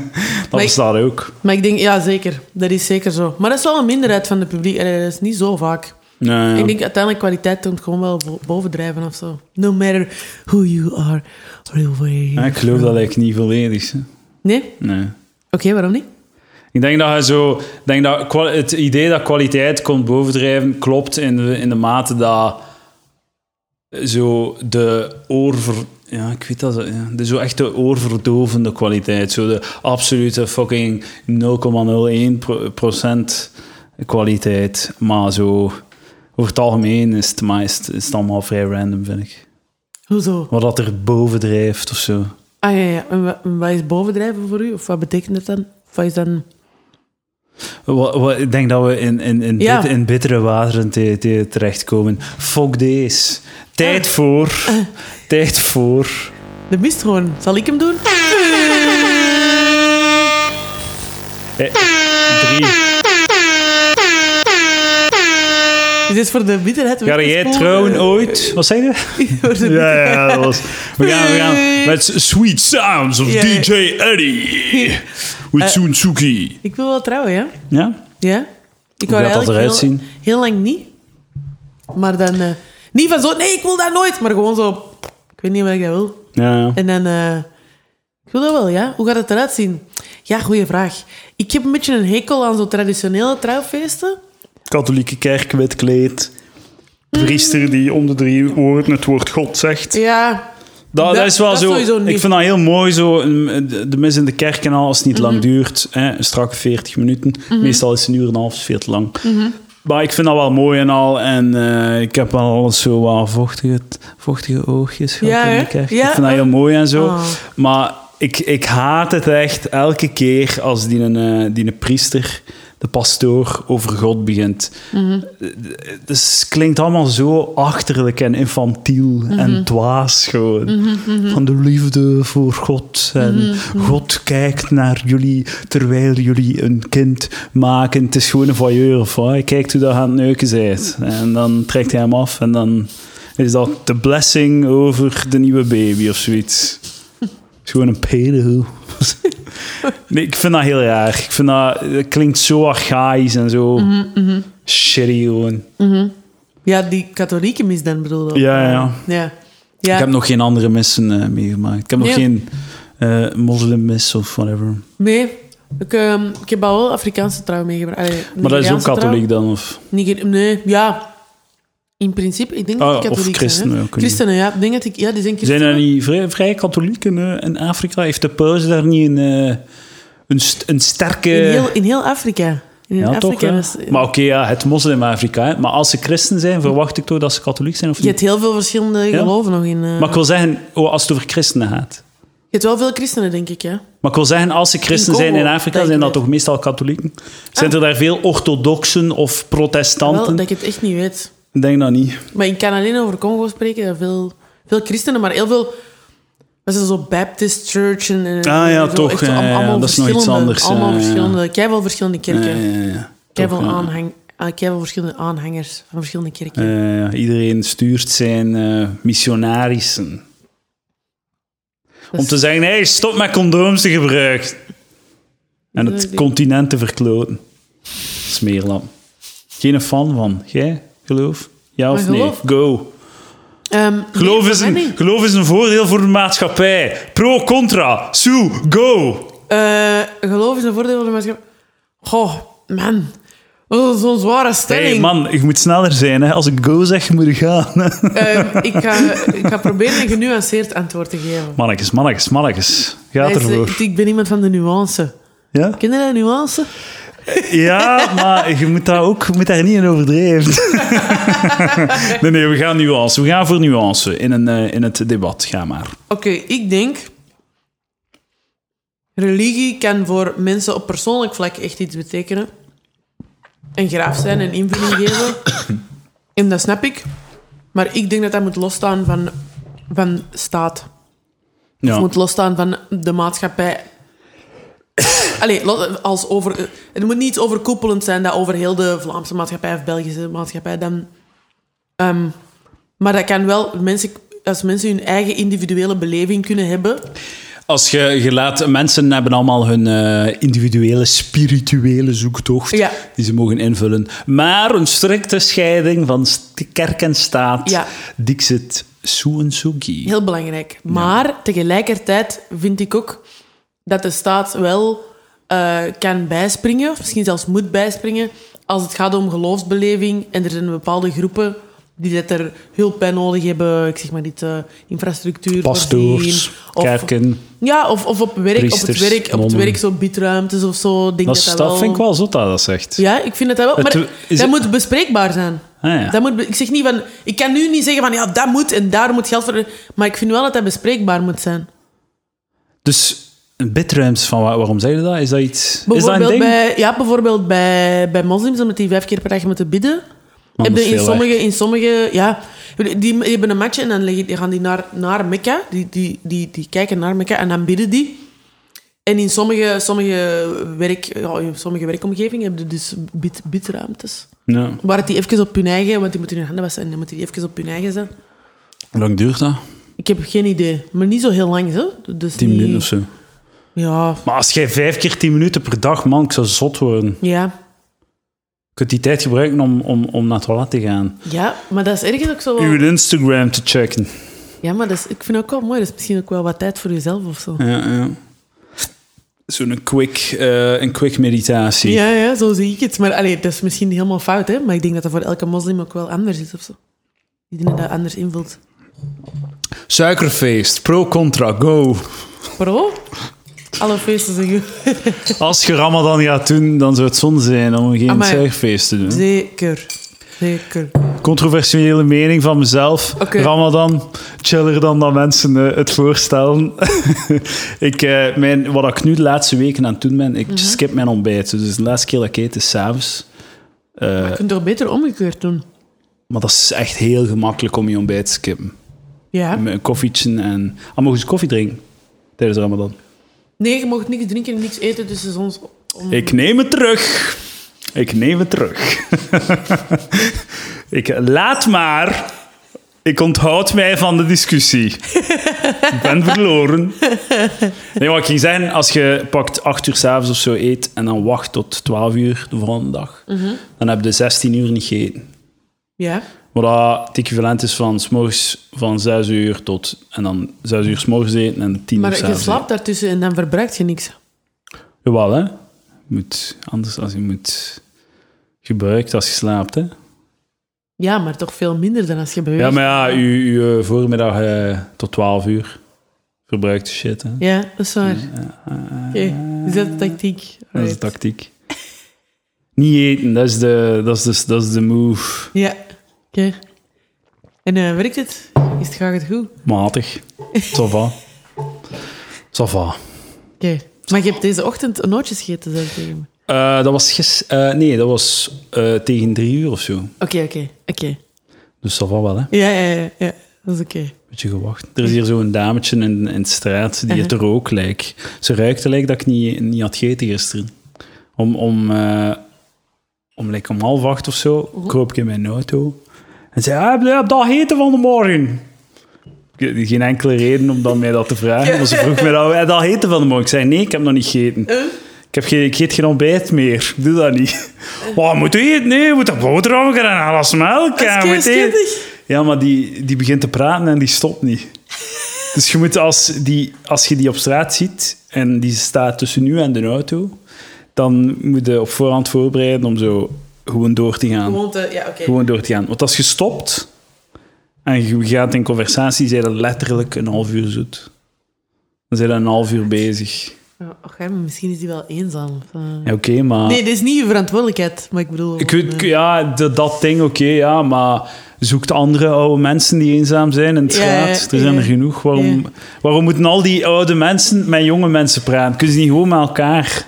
Speaker 1: Maar ik-
Speaker 2: bestaat ook.
Speaker 1: Maar ik denk, ja, zeker. Dat is zeker zo. Maar dat is wel een minderheid van het publiek. En dat is niet zo vaak.
Speaker 2: Ja, ja.
Speaker 1: Ik denk uiteindelijk kwaliteit komt gewoon wel bo- bovendrijven of zo. No matter who you are or where you
Speaker 2: Ja, ik geloof dat eigenlijk niet volledig. is, hè.
Speaker 1: Nee? Oké,
Speaker 2: Nee.
Speaker 1: waarom niet?
Speaker 2: Ik denk dat, je zo, ik denk dat kwa- het idee dat kwaliteit komt bovendrijven klopt in de, in de mate dat zo de oorver... Ja, ik weet dat. Ja, de, zo echt de oorverdovende kwaliteit. Zo de absolute fucking 0,01% pro- procent kwaliteit. Maar zo... Over het algemeen is het, maar is, het- is het allemaal vrij random, vind ik.
Speaker 1: Hoezo?
Speaker 2: Wat dat er boven drijft of zo.
Speaker 1: Ah ja, ja. En wa- en wat is bovendrijven voor u? Of wat betekent dat dan? Of wat is dan...
Speaker 2: Wa- wa- ik denk dat we in, in, in,
Speaker 1: Ja.
Speaker 2: bit- in bittere wateren te, te- terechtkomen. Fuck deze. Tijd voor. Tijd voor.
Speaker 1: De mist gewoon. Zal ik hem doen?
Speaker 2: [laughs] Eh, drie.
Speaker 1: Is dit voor de bitterheid? weg
Speaker 2: Ga
Speaker 1: te
Speaker 2: jij
Speaker 1: spoelen?
Speaker 2: trouwen ooit? Wat zei je?
Speaker 1: [laughs] Voor de
Speaker 2: Ja, ja, dat was. We gaan, we gaan met Sweet Sounds of
Speaker 1: Ja. Eh.
Speaker 2: DJ Eddie. With Suzuki.
Speaker 1: Ik wil wel trouwen, ja.
Speaker 2: Ja?
Speaker 1: Ja. Ik
Speaker 2: gaat dat eruit
Speaker 1: heel,
Speaker 2: zien?
Speaker 1: heel lang niet. Maar dan... eh, niet van zo... Nee, ik wil dat nooit. Maar gewoon zo... Ik weet niet wat ik dat wil.
Speaker 2: Ja, ja.
Speaker 1: En dan... eh, ik wil dat wel, ja. Hoe gaat het eruit zien? Ja, goede vraag. Ik heb een beetje een hekel aan zo traditionele trouwfeesten.
Speaker 2: Katholieke kerk met kleed. Priester die om de drie woorden het woord God zegt.
Speaker 1: Ja.
Speaker 2: Dat, dat
Speaker 1: Dat-
Speaker 2: is wel
Speaker 1: dat
Speaker 2: zo.
Speaker 1: sowieso niet.
Speaker 2: Ik vind dat heel mooi zo. een- De, de mis in de kerk en al, als het niet
Speaker 1: Mhm.
Speaker 2: lang duurt. Hè, een strakke 40 minuten. Meestal is het een uur en een half, is veel te lang.
Speaker 1: Mhm.
Speaker 2: Maar ik vind dat wel mooi en al. En eh, ik heb wel alles zo wel vochtige, vochtige oogjes gehad
Speaker 1: Ja,
Speaker 2: in
Speaker 1: hè?
Speaker 2: de kerk.
Speaker 1: Ja,
Speaker 2: Ik vind dat heel mooi en zo.
Speaker 1: Oh.
Speaker 2: Maar ik, ik haat het echt elke keer als die een, eh, die een priester, de pastoor, over God begint. Dus het klinkt allemaal zo achterlijk en infantiel en dwaas gewoon. Van de liefde voor God. En God kijkt naar jullie terwijl jullie een kind maken. Het is gewoon een voyeur. Of, "Ah, hij kijkt hoe dat aan het neuken zijt. En dan trekt hij hem af en dan is dat de blessing over de nieuwe baby of zoiets. Het is gewoon een pedo. nee, ik vind dat heel raar. Ik vind dat, dat klinkt zo archaïs en zo shitty gewoon.
Speaker 1: Ja, die katholieke mis dan bedoel ik.
Speaker 2: Ja, ja.
Speaker 1: Ja. Ja.
Speaker 2: eh, Ik heb nog geen andere missen eh, meegemaakt. Ik heb nog
Speaker 1: Nee.
Speaker 2: geen eh moslimmis of whatever.
Speaker 1: Nee. Ik, ehm, ik heb al wel Afrikaanse trouw meegebracht. Allee,
Speaker 2: Maar dat is ook
Speaker 1: Nigeriaanse trouw.
Speaker 2: katholiek dan? Of?
Speaker 1: Niger- nee, ja. In principe, ik denk
Speaker 2: Ah,
Speaker 1: dat die
Speaker 2: of
Speaker 1: katholiek
Speaker 2: christenen
Speaker 1: zijn.
Speaker 2: ook,
Speaker 1: Hè? Christenen, ja. Ik denk dat ik, ja, die zijn
Speaker 2: Zijn
Speaker 1: christenen.
Speaker 2: er niet vrij, vrij katholieken eh, in Afrika? Heeft de paus daar niet een, eh, een, st- een sterke...
Speaker 1: in, heel, in heel Afrika. In heel
Speaker 2: eh, ja,
Speaker 1: Afrika
Speaker 2: toch? hè?
Speaker 1: is-
Speaker 2: Maar oké, ja, het moslim-Afrika. hè. Maar als ze christen zijn, verwacht ik toch dat ze katholiek zijn? Of
Speaker 1: je
Speaker 2: niet?
Speaker 1: hebt heel veel verschillende geloven nog in... eh,
Speaker 2: Maar ik wil zeggen, oh, als het over christenen gaat.
Speaker 1: Je hebt wel veel christenen, denk ik, ja.
Speaker 2: Maar ik wil zeggen, als ze christen
Speaker 1: In Congo,
Speaker 2: zijn in Afrika,
Speaker 1: denk
Speaker 2: zijn
Speaker 1: ik
Speaker 2: dat
Speaker 1: net.
Speaker 2: toch meestal katholieken? Zijn er daar veel orthodoxen of
Speaker 1: Wel,
Speaker 2: protestanten?
Speaker 1: dat ik het echt niet weet.
Speaker 2: Ik denk dat niet.
Speaker 1: Maar ik kan alleen over Congo spreken. Dat veel, veel christenen, maar heel veel... Dat zijn zo Baptist Church en... en-
Speaker 2: Ah, ja,
Speaker 1: zo,
Speaker 2: toch,
Speaker 1: echt zo
Speaker 2: ja,
Speaker 1: allemaal
Speaker 2: ja, dat is nog iets
Speaker 1: verschillende-
Speaker 2: anders, ja,
Speaker 1: Allemaal
Speaker 2: ja, ja.
Speaker 1: verschillende... Ik heb wel verschillende kerken.
Speaker 2: Ja, ja, ja.
Speaker 1: Ik heb
Speaker 2: Toch,
Speaker 1: wel,
Speaker 2: ja.
Speaker 1: aanhang, ah, ik heb wel verschillende aanhangers van verschillende kerken.
Speaker 2: Eh, iedereen stuurt zijn eh, missionarissen.
Speaker 1: Dat
Speaker 2: Om
Speaker 1: is-
Speaker 2: te zeggen, hey, stop met condooms te gebruiken. En
Speaker 1: Ja,
Speaker 2: het
Speaker 1: die-
Speaker 2: continent te verkloten. Smeerlam. Geen fan van. Jij, geloof? Ja of
Speaker 1: Maar
Speaker 2: nee?
Speaker 1: geloof-
Speaker 2: Go.
Speaker 1: Ehm,
Speaker 2: Geloof,
Speaker 1: nee,
Speaker 2: is
Speaker 1: voor mij
Speaker 2: een,
Speaker 1: niet.
Speaker 2: geloof is een voordeel voor de maatschappij. Pro, contra. Sue, go.
Speaker 1: Eh, geloof is een voordeel van de maatschappij. Goh, man. Dat is zo'n zware
Speaker 2: Hé
Speaker 1: stelling.
Speaker 2: man, je moet sneller zijn. Hè. Als ik go zeg, moet je gaan. [laughs]
Speaker 1: Ehm, ik, ga, ik ga proberen een genuanceerd antwoord te geven.
Speaker 2: Mannetjes, mannetjes, mannetjes. Gaat
Speaker 1: Hij is- eh,
Speaker 2: ervoor.
Speaker 1: ik ben iemand van de nuance.
Speaker 2: Ja?
Speaker 1: Ken je dat, nuance?
Speaker 2: ja, maar je moet daar ook je moet daar niet in overdreven. [laughs] nee, nee, we gaan nuance. We gaan voor nuance in, een, eh, in het debat. Ga maar.
Speaker 1: Oké, ik denk... Religie kan voor mensen op persoonlijk vlak echt iets betekenen. En graaf zijn en invulling geven. [coughs] En dat snap ik. Maar ik denk dat dat moet losstaan van, van staat.
Speaker 2: Ja.
Speaker 1: Het moet losstaan van de maatschappij. [coughs] Allee, los- als over, eh, het moet niet overkoepelend zijn dat over heel de Vlaamse maatschappij of Belgische maatschappij dan Ehm, maar dat kan wel, mensen, als mensen hun eigen individuele beleving kunnen hebben.
Speaker 2: Als je, je laat, mensen hebben allemaal hun eh, individuele spirituele zoektocht
Speaker 1: Ja.
Speaker 2: die ze mogen invullen. Maar een strikte scheiding van st- kerk en staat,
Speaker 1: Ja.
Speaker 2: dixit su en sugi.
Speaker 1: Heel belangrijk. Maar tegelijkertijd vind ik ook dat de staat wel eh, kan bijspringen, of misschien zelfs moet bijspringen, als het gaat om geloofsbeleving. En er zijn bepaalde groepen die dat er hulp bij nodig hebben. Ik zeg maar niet eh, infrastructuur,
Speaker 2: Pastoors,
Speaker 1: voorzien, of,
Speaker 2: kerken.
Speaker 1: Ja, of, of op, werk, op het
Speaker 2: Priesters,
Speaker 1: werk, op het
Speaker 2: nonnen.
Speaker 1: werk zo biedruimtes of zo. Ik Denk
Speaker 2: Dat,
Speaker 1: dat,
Speaker 2: is-
Speaker 1: dat,
Speaker 2: dat
Speaker 1: wel...
Speaker 2: vind ik wel zot dat dat zegt.
Speaker 1: Ja, ik vind dat dat wel.
Speaker 2: Het-
Speaker 1: Maar dat
Speaker 2: is het-
Speaker 1: moet bespreekbaar zijn.
Speaker 2: Ah, ja.
Speaker 1: dat moet, be- ik zeg niet van... Ik kan nu niet zeggen van, ja, dat moet en daar moet geld voor... Maar ik vind wel dat dat bespreekbaar moet zijn.
Speaker 2: Dus een bitruimte van waar- waarom zei je dat? Is dat iets? Is dat een
Speaker 1: Bijvoorbeeld
Speaker 2: ding?
Speaker 1: bij, ja, bijvoorbeeld bij, bij moslims, omdat die vijf keer per dag moeten bidden.
Speaker 2: dat
Speaker 1: Hebben
Speaker 2: is
Speaker 1: in
Speaker 2: veel
Speaker 1: sommige, in sommige, ja, die hebben een matje en dan leggen- die gaan die naar, naar Mekka. Die, die, die, die kijken naar Mekka en dan bidden die. En in sommige, sommige, werk, ja, in sommige werkomgevingen hebben die dus bid, bidruimtes.
Speaker 2: Ja.
Speaker 1: Waar die even op hun eigen, want die moeten hun handen wassen en dan moeten die even op hun eigen zijn.
Speaker 2: Hoe lang duurt dat?
Speaker 1: Ik heb geen idee, maar niet zo heel lang, hè? Dus
Speaker 2: Tien
Speaker 1: niet-
Speaker 2: minuten of zo.
Speaker 1: Ja,
Speaker 2: Maar als jij vijf keer tien minuten per dag, man, ik zou zot worden.
Speaker 1: ja.
Speaker 2: Je kunt die tijd gebruiken om, om, om naar het toilet te gaan.
Speaker 1: Ja, maar dat is ergens ook zo. wel-
Speaker 2: Uw Instagram te checken.
Speaker 1: Ja, maar dat is, ik vind ook wel mooi. Dat is misschien ook wel wat tijd voor jezelf of zo.
Speaker 2: Ja, ja. Zo'n quick, eh, een quick meditatie.
Speaker 1: Ja, ja, zo zie ik het. Maar allee, dat is misschien helemaal fout, hè? Maar ik denk dat dat voor elke moslim ook wel anders is of zo. Iedereen dat anders invult.
Speaker 2: Suikerfeest, pro-contra,
Speaker 1: [laughs]
Speaker 2: go.
Speaker 1: Pro? Alle feesten zijn goed.
Speaker 2: Als je Ramadan gaat doen, dan zou het zonde zijn om geen
Speaker 1: Amai.
Speaker 2: suikerfeest te doen.
Speaker 1: Zeker. Zeker.
Speaker 2: Eh. Controversiële mening van mezelf.
Speaker 1: Oké.
Speaker 2: Ramadan, chiller dan dat mensen eh, het voorstellen. [laughs] ik, eh, mijn, wat ik nu de laatste weken aan het doen ben, ik skip mijn ontbijt. Dus de laatste keer dat ik eet is s'avonds.
Speaker 1: Je kunt toch beter omgekeerd doen?
Speaker 2: Maar dat is echt heel gemakkelijk om je ontbijt te skippen.
Speaker 1: Ja.
Speaker 2: Met een koffietje en... Ah, mogen ze koffie drinken tijdens Ramadan?
Speaker 1: Nee, je mocht niks drinken en niks eten, dus het is ons... Om...
Speaker 2: Ik neem het terug. Ik neem het terug. [laughs] ik, laat maar. Ik onthoud mij van de discussie. ik ben verloren. Nee, wat ik ging zeggen, als je pakt 8 uur s'avonds of zo eet en dan wacht tot 12 uur de volgende dag, dan heb je 16 uur niet gegeten.
Speaker 1: Ja.
Speaker 2: Wat dat het equivalent is van, 's morgens van 6 uur tot... En dan 6 uur 's morgens eten en 10 uur
Speaker 1: Maar je
Speaker 2: s'avonds
Speaker 1: slaapt daartussen en dan verbruikt je niks.
Speaker 2: Jawel, hè? Je moet anders als je moet gebruikt als je slaapt, hè?
Speaker 1: Ja, maar toch veel minder dan als je beweegt.
Speaker 2: Ja, maar ja, je, je voormiddag eh, tot 12 uur verbruikt shit, hè?
Speaker 1: Ja, dat is
Speaker 2: Dus,
Speaker 1: waar. Oké, is dat de tactiek?
Speaker 2: eh, Dat is de
Speaker 1: Alright.
Speaker 2: tactiek. [laughs] Niet eten, dat is de, dat is de, dat is de move.
Speaker 1: Ja, oké. En eh, werkt het? Is het gaat het goed? Oké.
Speaker 2: Matig. Ça va. Ça va.
Speaker 1: Maar je hebt deze ochtend nootjes gegeten, zei je tegen me.
Speaker 2: Eh, dat was gis... eh, nee, dat was eh, tegen drie uur of zo.
Speaker 1: Oké, oké, oké.
Speaker 2: Dus ça va wel, hè?
Speaker 1: Ja, ja, ja, ja, dat is oké.
Speaker 2: Beetje gewacht. Er is hier zo'n dametje in, in de straat die het er ook lijkt. Ze ruikte lijkt dat ik niet, niet had gegeten gisteren. Om, om, eh, om, like, om half acht of zo kroop ik in mijn auto. En zei, ah, heb je dat gegeten van de morgen? Ik had Geen enkele reden om dan mij dat te vragen. Maar ze vroeg me, dat, heb je dat gegeten van de morgen? Ik zei, nee, ik heb nog niet gegeten. Ik, heb geen, ik eet geen ontbijt meer. Ik doe dat niet. Wat moet je eten? Nee, je moet een boterham gaan en alles melk. en
Speaker 1: Dat
Speaker 2: je
Speaker 1: is
Speaker 2: moet eten."
Speaker 1: keischittig.
Speaker 2: Ja, maar die, die begint te praten en die stopt niet. Dus je moet als, die, als je die op straat ziet en die staat tussen u en de auto, dan moet je op voorhand voorbereiden om zo gewoon door te gaan.
Speaker 1: Gewoon te- ja, oké.
Speaker 2: Gewoon door te gaan. Want als je stopt en je gaat in conversatie, zijn dat letterlijk een half uur zoet. Dan zijn dat een half uur bezig.
Speaker 1: Ja, oké, Oh, maar misschien is die wel eenzaam. of, eh.
Speaker 2: Ja, oké, maar...
Speaker 1: Nee, dit is niet uw verantwoordelijkheid, maar ik bedoel...
Speaker 2: Ik
Speaker 1: gewoon,
Speaker 2: weet,
Speaker 1: eh,
Speaker 2: ja, dat, dat ding, oké, ja, maar zoekt andere oude mensen die eenzaam zijn in het
Speaker 1: Ja,
Speaker 2: straat.
Speaker 1: ja,
Speaker 2: er zijn
Speaker 1: ja.
Speaker 2: er genoeg. Waarom,
Speaker 1: Ja.
Speaker 2: waarom moeten al die oude mensen met jonge mensen praten? Kunnen ze niet gewoon met elkaar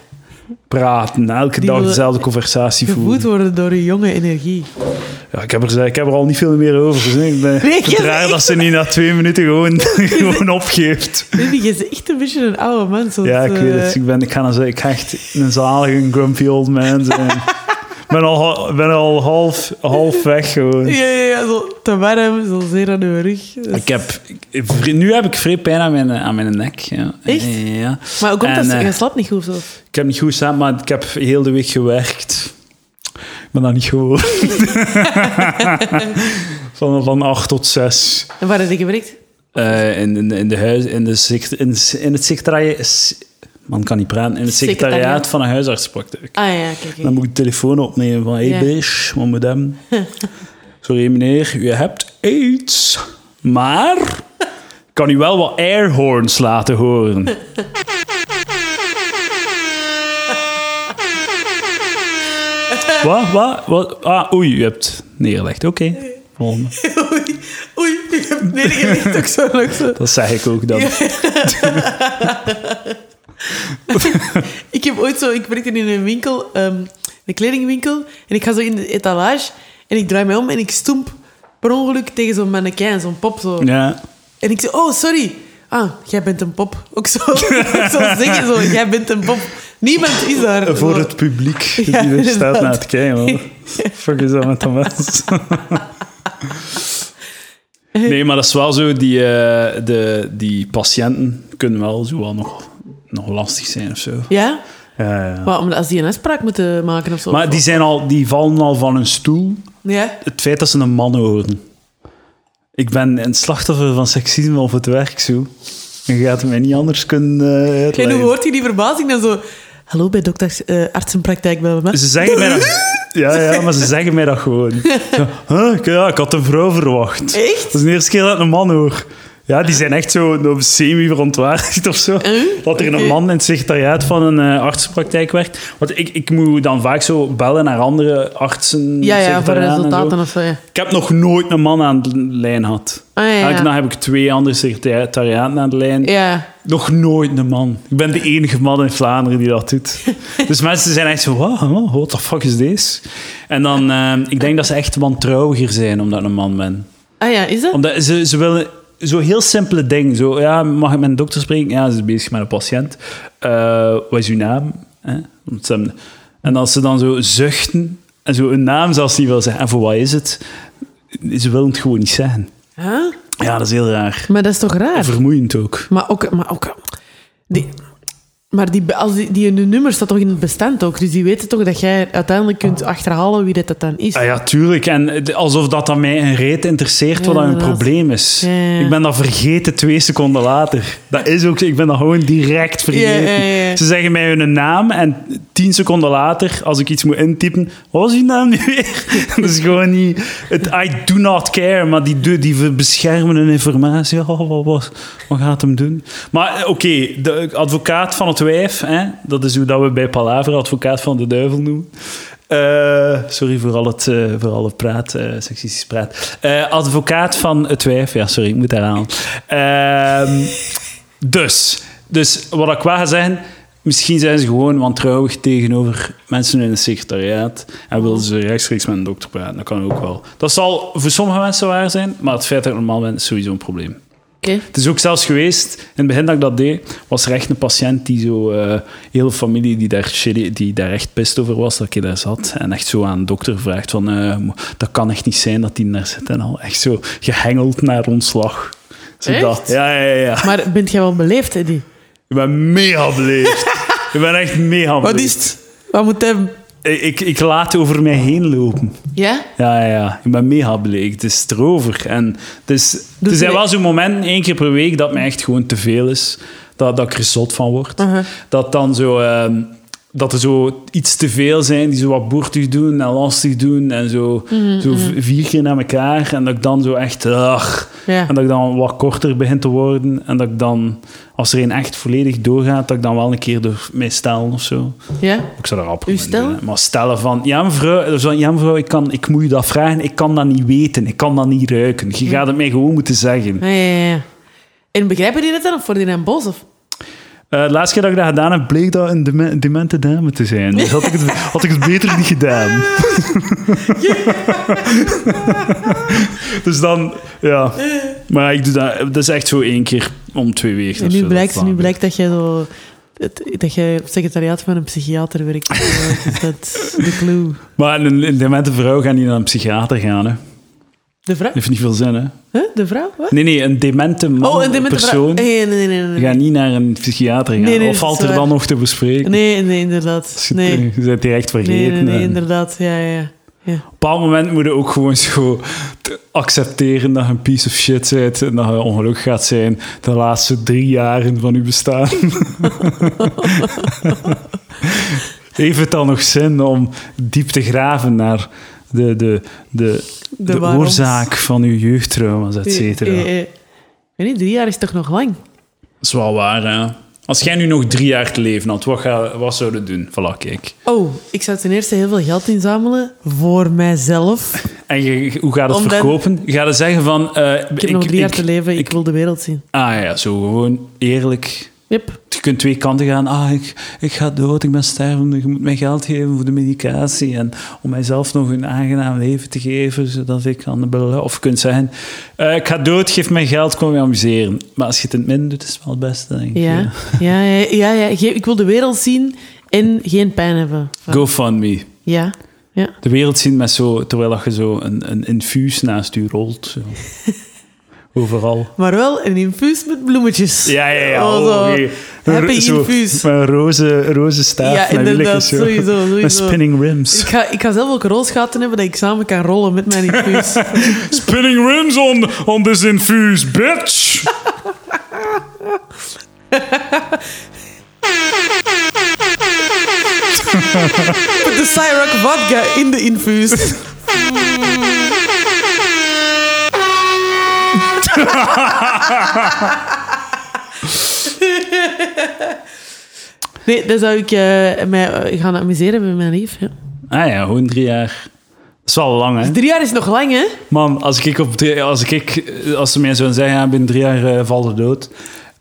Speaker 2: praten? Elke
Speaker 1: Die
Speaker 2: dag
Speaker 1: willen
Speaker 2: dezelfde conversatie
Speaker 1: eh, Gevoed
Speaker 2: voeren.
Speaker 1: worden door uw jonge energie.
Speaker 2: Ja, ik, heb er, ik heb er al niet veel meer over. Dus ik ben
Speaker 1: Nee,
Speaker 2: het is
Speaker 1: je
Speaker 2: raar
Speaker 1: bent
Speaker 2: dat ze niet na twee minuten gewoon, [laughs] gewoon opgeeft.
Speaker 1: Rudy, je bent echt een beetje een oude man. soms,
Speaker 2: Ja, ik weet
Speaker 1: eh. [laughs]
Speaker 2: het. Ik, ben, ik, ga, een- ik ga echt een zalige grumpy old man zijn. ben al, ben al half, half weg gewoon.
Speaker 1: Ja, ja, ja, zo te warm, zo zeer aan uw rug. Dus-
Speaker 2: Ik heb, ik- vri- nu heb ik vrij pijn aan mijn, aan mijn nek. Ja.
Speaker 1: Echt?
Speaker 2: Ja.
Speaker 1: Maar ook omdat
Speaker 2: En,
Speaker 1: ze-
Speaker 2: eh,
Speaker 1: je slaapt niet goed of zo.
Speaker 2: Ik heb niet goed staan, maar ik heb heel de week gewerkt. Ik ben dat niet gewoon. van, van 8 tot 6.
Speaker 1: En waar heb je gewerkt?
Speaker 2: Eh, in, in, in, de huis, in, de sect- in, in het secretariaat. Man kan niet praten. In het secretariaat
Speaker 1: Secretariaat.
Speaker 2: van een huisartspraktijk.
Speaker 1: Ah ja, kijk.
Speaker 2: Dan
Speaker 1: kijk.
Speaker 2: moet ik de telefoon opnemen van: hey
Speaker 1: Ja.
Speaker 2: bitch, wat moet hem? Sorry meneer, u hebt aids. Maar ik kan u wel wat airhorns laten horen. wat, wat, wat? Ah, oei, u hebt neergelegd. Oké, volgende.
Speaker 1: [laughs] Oei, oei, ik heb neergelegd ook zo. Ook zo.
Speaker 2: Dat zeg ik ook
Speaker 1: [laughs]
Speaker 2: dan.
Speaker 1: Ja. ik heb ooit zo, ik werkte in een winkel, ehm, een kledingwinkel, en ik ga zo in de etalage en ik draai mij om en ik stoemp per ongeluk tegen zo'n mannequin, zo'n pop zo.
Speaker 2: Ja.
Speaker 1: En ik zei, oh, sorry. Ah, jij bent een pop. Ook zo, [laughs] zo zeggen, zo, jij bent een pop. Niemand is daar.
Speaker 2: Voor
Speaker 1: Zo.
Speaker 2: het publiek die
Speaker 1: [laughs] Ja,
Speaker 2: er staat
Speaker 1: inderdaad.
Speaker 2: naar het kijken. man. Fuck is dat met dat
Speaker 1: [laughs]
Speaker 2: mens? Nee, maar dat is wel zo. Die, eh, de, die patiënten kunnen wel zo wel nog, nog lastig zijn of zo.
Speaker 1: Ja?
Speaker 2: Ja, ja.
Speaker 1: Maar omdat als die een afspraak moeten maken of zo.
Speaker 2: Eh, Maar die, zijn al, die vallen al van hun stoel.
Speaker 1: Ja?
Speaker 2: Het feit dat ze een man horen. Ik ben een slachtoffer van seksisme op het werk, zo. Je gaat mij niet anders kunnen eh,
Speaker 1: En hoe
Speaker 2: uitleggen.
Speaker 1: hoort je die verbazing dan zo... Hallo, bij dokter eh artsenpraktijk bij me.
Speaker 2: Ze zeggen mij dat...
Speaker 1: [laughs]
Speaker 2: Ja, ja, maar ze zeggen mij dat gewoon. Zo, huh, ik- ja, ik had een vrouw verwacht.
Speaker 1: Echt?
Speaker 2: Dat is de eerste keer dat ik een man hoor. Ja, die zijn echt zo nog semi-verontwaardigd of zo. Dat er een
Speaker 1: Oké.
Speaker 2: man in het secretariaat van een eh, artsenpraktijk werkt. Want ik, ik moet dan vaak zo bellen naar andere artsen.
Speaker 1: Ja, ja, voor
Speaker 2: secretariaten en zo.
Speaker 1: resultaten of zo, ja.
Speaker 2: Ik heb nog nooit een man aan de lijn gehad.
Speaker 1: Ah, ja, ja.
Speaker 2: Elke dag heb ik twee andere secretariaten aan de lijn.
Speaker 1: Ja.
Speaker 2: Nog nooit een man. Ik ben de enige man in Vlaanderen die dat
Speaker 1: [laughs]
Speaker 2: doet. Dus mensen zijn echt zo, wow, what the fuck is this? En dan, eh, ik denk dat ze echt wantrouwiger zijn omdat ik een man ben.
Speaker 1: Ah ja, is dat?
Speaker 2: Omdat ze, ze willen zo heel simpele ding. Zo, ja, mag ik met een dokter spreken? Ja, ze is bezig met een patiënt. Eh, wat is uw naam? Eh, want ze hebben- En als ze dan zo zuchten en zo hun naam zelfs niet wil zeggen. En voor wat is het? Ze willen het gewoon niet zeggen.
Speaker 1: Huh?
Speaker 2: Ja, dat is heel raar.
Speaker 1: Maar dat is toch raar?
Speaker 2: En vermoeiend ook.
Speaker 1: Maar ook... Maar, ook die, maar die, als die, die hun nummer staat toch in het bestand ook. Dus die weten toch dat jij uiteindelijk kunt achterhalen wie dat, dat dan is.
Speaker 2: Ah ja, tuurlijk. En het- alsof dat dan mij een reet interesseert wat
Speaker 1: Ja,
Speaker 2: dan hun
Speaker 1: inderdaad.
Speaker 2: probleem is.
Speaker 1: Ja, ja, ja.
Speaker 2: Ik ben dat vergeten twee seconden later. Dat is ook, ik ben dat gewoon direct vergeten.
Speaker 1: Ja, ja, ja.
Speaker 2: Ze zeggen mij hun naam en tien seconden later, als ik iets moet intypen, wat was die naam nu weer? [laughs] dat is gewoon niet... Het, I do not care, maar die, do- die beschermen hun informatie. Oh, wat, was, wat gaat hem doen? Maar eh, oké, de advocaat van het wijf, hè, dat is hoe dat we bij Palaver advocaat van de duivel noemen. Eh, sorry voor al het, eh, voor al het praat, eh seksistisch praat. Eh, advocaat van het wijf, ja sorry, ik moet herhalen. Ehm dus, dus wat ik wel ga zeggen, misschien zijn ze gewoon wantrouwig tegenover mensen in het secretariaat en willen ze rechtstreeks met een dokter praten. Dat kan ook wel. Dat zal voor sommige mensen waar zijn, maar het feit dat ik normaal ben, is sowieso een probleem.
Speaker 1: Oké.
Speaker 2: Het is ook zelfs geweest, in het begin dat ik dat deed, was er echt een patiënt die zo, eh hele familie die daar, shitty- die daar echt pist over was, dat ik daar zat. En echt zo aan de dokter vraagt van, eh, mo- dat kan echt niet zijn dat die daar zit. En al echt zo gehengeld naar ontslag. Zodat,
Speaker 1: Echt?
Speaker 2: Ja, ja, ja.
Speaker 1: Maar bent jij wel beleefd, Eddie?
Speaker 2: Ik ben mega beleefd. ik ben echt mega
Speaker 1: Wat is
Speaker 2: beleefd.
Speaker 1: het? Wat moet hem...
Speaker 2: Ik, ik, ik laat over mij heen lopen.
Speaker 1: Ja?
Speaker 2: Ja, ja, ja. Ik ben mega beleefd. Het is erover. En het is, er
Speaker 1: je
Speaker 2: zijn
Speaker 1: mee-
Speaker 2: wel zo'n momenten, één keer per week, dat mij echt gewoon te veel is. Dat, dat ik er zot van word.
Speaker 1: Uh-huh.
Speaker 2: Dat dan zo... ehm, dat er zo iets te veel zijn die zo wat boertig doen en lastig doen en zo, zo v- vier keer naar elkaar. En dat ik dan zo echt... ach,
Speaker 1: Ja.
Speaker 2: en dat ik dan wat korter begin te worden. En dat ik dan, als er een echt volledig doorgaat, dat ik dan wel een keer door mij stel of zo.
Speaker 1: Ja?
Speaker 2: Ik zou er rap
Speaker 1: U
Speaker 2: mee
Speaker 1: stellen?
Speaker 2: doen, hè. Maar stellen van, ja mevrouw, zo, ja, mevrouw ik, kan, ik moet u dat vragen, ik kan dat niet weten, ik kan dat niet ruiken. Je gaat het mij gewoon moeten zeggen.
Speaker 1: Ah, Ja, ja, ja. En begrijpen die dat dan? Of worden die dan boos? Of?
Speaker 2: Eh, de laatste keer dat ik dat gedaan heb, bleek dat een deme- demente dame te zijn. Dus had ik
Speaker 1: [laughs]
Speaker 2: het, had ik het beter niet gedaan. dus dan, ja.
Speaker 1: Eh.
Speaker 2: Maar ik doe dat, dat is echt zo één keer om twee weken.
Speaker 1: En
Speaker 2: of zo,
Speaker 1: nu
Speaker 2: dat
Speaker 1: blijkt, nu
Speaker 2: plan.
Speaker 1: blijkt dat jij zo het- dat je op het secretariaat van een psychiater [laughs] werkt. Dus dat is de clue.
Speaker 2: Maar een, een demente vrouw gaat niet naar een psychiater gaan, hè. Dat
Speaker 1: De vrouw?
Speaker 2: heeft niet veel zin, hè.
Speaker 1: Huh? De vrouw? Wat?
Speaker 2: Nee, nee, een demente man,
Speaker 1: Oh, een demente vrouw.
Speaker 2: persoon
Speaker 1: Nee, nee, nee. nee, nee.
Speaker 2: gaat niet naar een psychiater gaan.
Speaker 1: Nee, nee,
Speaker 2: of
Speaker 1: dat is
Speaker 2: valt er
Speaker 1: waar.
Speaker 2: dan nog te bespreken?
Speaker 1: Nee, nee,
Speaker 2: Als
Speaker 1: inderdaad.
Speaker 2: je-
Speaker 1: Nee.
Speaker 2: Je bent direct vergeten.
Speaker 1: Nee, nee, nee,
Speaker 2: en-
Speaker 1: inderdaad. Ja, ja. ja.
Speaker 2: Op een bepaald moment moet je ook gewoon zo te accepteren dat je een piece of shit bent en dat je ongelukkig gaat zijn de laatste drie jaren van je bestaan. [laughs] Heeft het dan nog zin om diep te graven naar de, de, de, de,
Speaker 1: waaroms.
Speaker 2: oorzaak van je jeugdtrauma's, et
Speaker 1: Eh, eh,
Speaker 2: cetera?
Speaker 1: eh. Ik weet niet, drie jaar is toch nog lang?
Speaker 2: Dat is wel waar, hè? Als jij nu nog drie jaar te leven had, wat, ga, wat zou je doen? Voilà, kijk.
Speaker 1: Oh, ik zou ten eerste heel veel geld inzamelen voor mijzelf.
Speaker 2: En je- hoe gaat het
Speaker 1: Om dan-
Speaker 2: verkopen? Ga je zeggen van... eh,
Speaker 1: Ik heb nog drie jaar te leven, ik, wil de wereld zien.
Speaker 2: Ah ja, zo gewoon eerlijk.
Speaker 1: Yep.
Speaker 2: Je kunt twee kanten gaan. Ah, ik, ik ga dood, ik ben stervende. Je moet mij geld geven voor de medicatie. En om mijzelf nog een aangenaam leven te geven, zodat ik kan... bellen. Of je kunt zeggen, eh, ik ga dood, geef mij geld, kom je amuseren. Maar als je het in het midden doet, is het wel het beste, denk ik.
Speaker 1: Ja, ja, ja, ja, ja. Ge- Ik wil de wereld zien en geen pijn hebben.
Speaker 2: GoFundMe.
Speaker 1: Ja, ja.
Speaker 2: De wereld zien met zo, terwijl dat je zo een, een infuus naast je rolt.
Speaker 1: [laughs]
Speaker 2: zo. Overal.
Speaker 1: Maar wel een infuus met bloemetjes.
Speaker 2: Ja, ja, ja.
Speaker 1: Oh,
Speaker 2: Oh,
Speaker 1: zo.
Speaker 2: oké.
Speaker 1: Happy
Speaker 2: Zo,
Speaker 1: infuus.
Speaker 2: Met een roze, roze staaf.
Speaker 1: Ja,
Speaker 2: met
Speaker 1: inderdaad,
Speaker 2: wieltjes, zo.
Speaker 1: sowieso,
Speaker 2: Met
Speaker 1: sowieso.
Speaker 2: spinning
Speaker 1: Ik
Speaker 2: rims.
Speaker 1: ga, ik ga zelf ook rolsgaten hebben dat ik samen kan rollen met mijn [laughs] infuus.
Speaker 2: spinning rims on, on this infuse, bitch!
Speaker 1: Put de Cyroc vodka in de [laughs] infuus. Nee, dan zou ik eh, mij eh, gaan amuseren met mijn lief. ja.
Speaker 2: Ah ja, gewoon drie jaar. Dat is wel lang, hè?
Speaker 1: Drie jaar is nog lang, hè?
Speaker 2: Man, als ik op drie, als ik, als ze mij zouden zeggen, ja, binnen drie jaar eh, valt het dood.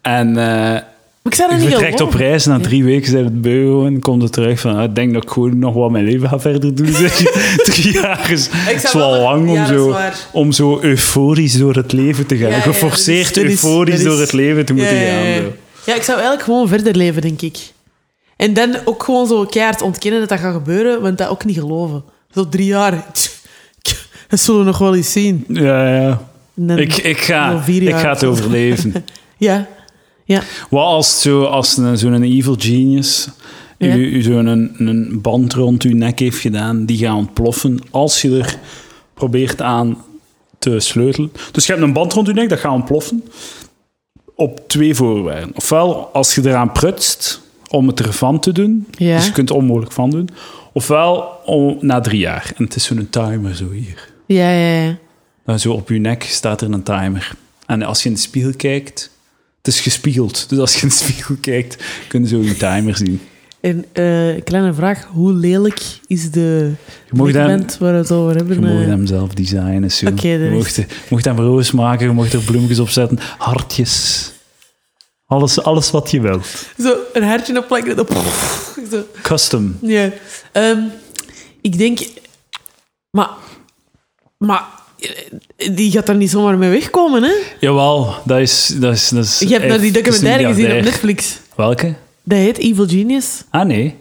Speaker 2: En eh
Speaker 1: Maar ik zou dat
Speaker 2: ik
Speaker 1: niet heel
Speaker 2: vertrekt op reis, na drie weken zijn het beu gewoon, komt het terug van, ah, ik denk dat ik gewoon nog wat mijn leven ga verder doen. [laughs] zeg. drie jaar is, is wel
Speaker 1: wel-
Speaker 2: lang om
Speaker 1: ja, dat is
Speaker 2: zo...
Speaker 1: waar.
Speaker 2: om zo euforisch door het leven te gaan.
Speaker 1: Ja, ja, ja,
Speaker 2: Geforceerd
Speaker 1: dat is- dat is-
Speaker 2: euforisch
Speaker 1: dat is-
Speaker 2: door het leven te moeten
Speaker 1: ja, ja, ja.
Speaker 2: gaan. zo.
Speaker 1: Ja, ik zou eigenlijk gewoon verder leven, denk ik. En dan ook gewoon zo keihard ontkennen dat dat gaat gebeuren, want dat ook niet geloven. Zo drie jaar. Tch, tch, Dat zullen we nog wel eens zien.
Speaker 2: Ja, ja.
Speaker 1: En dan-
Speaker 2: Ik, ik,
Speaker 1: Wel
Speaker 2: ga,
Speaker 1: vier
Speaker 2: ik
Speaker 1: jaar.
Speaker 2: ga het overleven.
Speaker 1: Ja. Ja.
Speaker 2: Wat als, zo, als een- zo'n evil genius
Speaker 1: Ja.
Speaker 2: u, u zo'n een, een band rond uw nek heeft gedaan, die gaat ontploffen als je er probeert aan te sleutelen. Dus je hebt een band rond je nek, dat gaat ontploffen op twee voorwaarden. Ofwel als je eraan prutst om het ervan te doen,
Speaker 1: Ja.
Speaker 2: dus je kunt er onmogelijk van doen. Ofwel om, na drie jaar. En het is zo'n timer zo hier.
Speaker 1: Ja, ja, ja.
Speaker 2: Dan Nou, zo op je nek staat er een timer. En als je in de spiegel kijkt, het is gespiegeld. Dus als je in de spiegel kijkt, kun je zo je timer zien.
Speaker 1: En eh, kleine vraag, hoe lelijk is de
Speaker 2: Je mag hem-
Speaker 1: band waar we het over hebben?
Speaker 2: Je mocht
Speaker 1: eh?
Speaker 2: hem zelf designen. Zo.
Speaker 1: Oké, dat
Speaker 2: je
Speaker 1: is-
Speaker 2: mocht, je mocht hem roos maken, je mocht er bloemetjes op zetten, hartjes. Alles, alles wat je wilt.
Speaker 1: Zo een hartje op plakken. en dan- [laughs] Zo.
Speaker 2: Custom.
Speaker 1: Ja. Ehm, ik denk... Maar... Maar... eh, Die gaat daar niet zomaar mee wegkomen, hè?
Speaker 2: Jawel, dat is... Dat is, dat is
Speaker 1: Je hebt nou die
Speaker 2: dat is
Speaker 1: documentaire gezien op
Speaker 2: miljardair.
Speaker 1: Netflix.
Speaker 2: Welke?
Speaker 1: Dat heet Evil Genius.
Speaker 2: Ah, nee.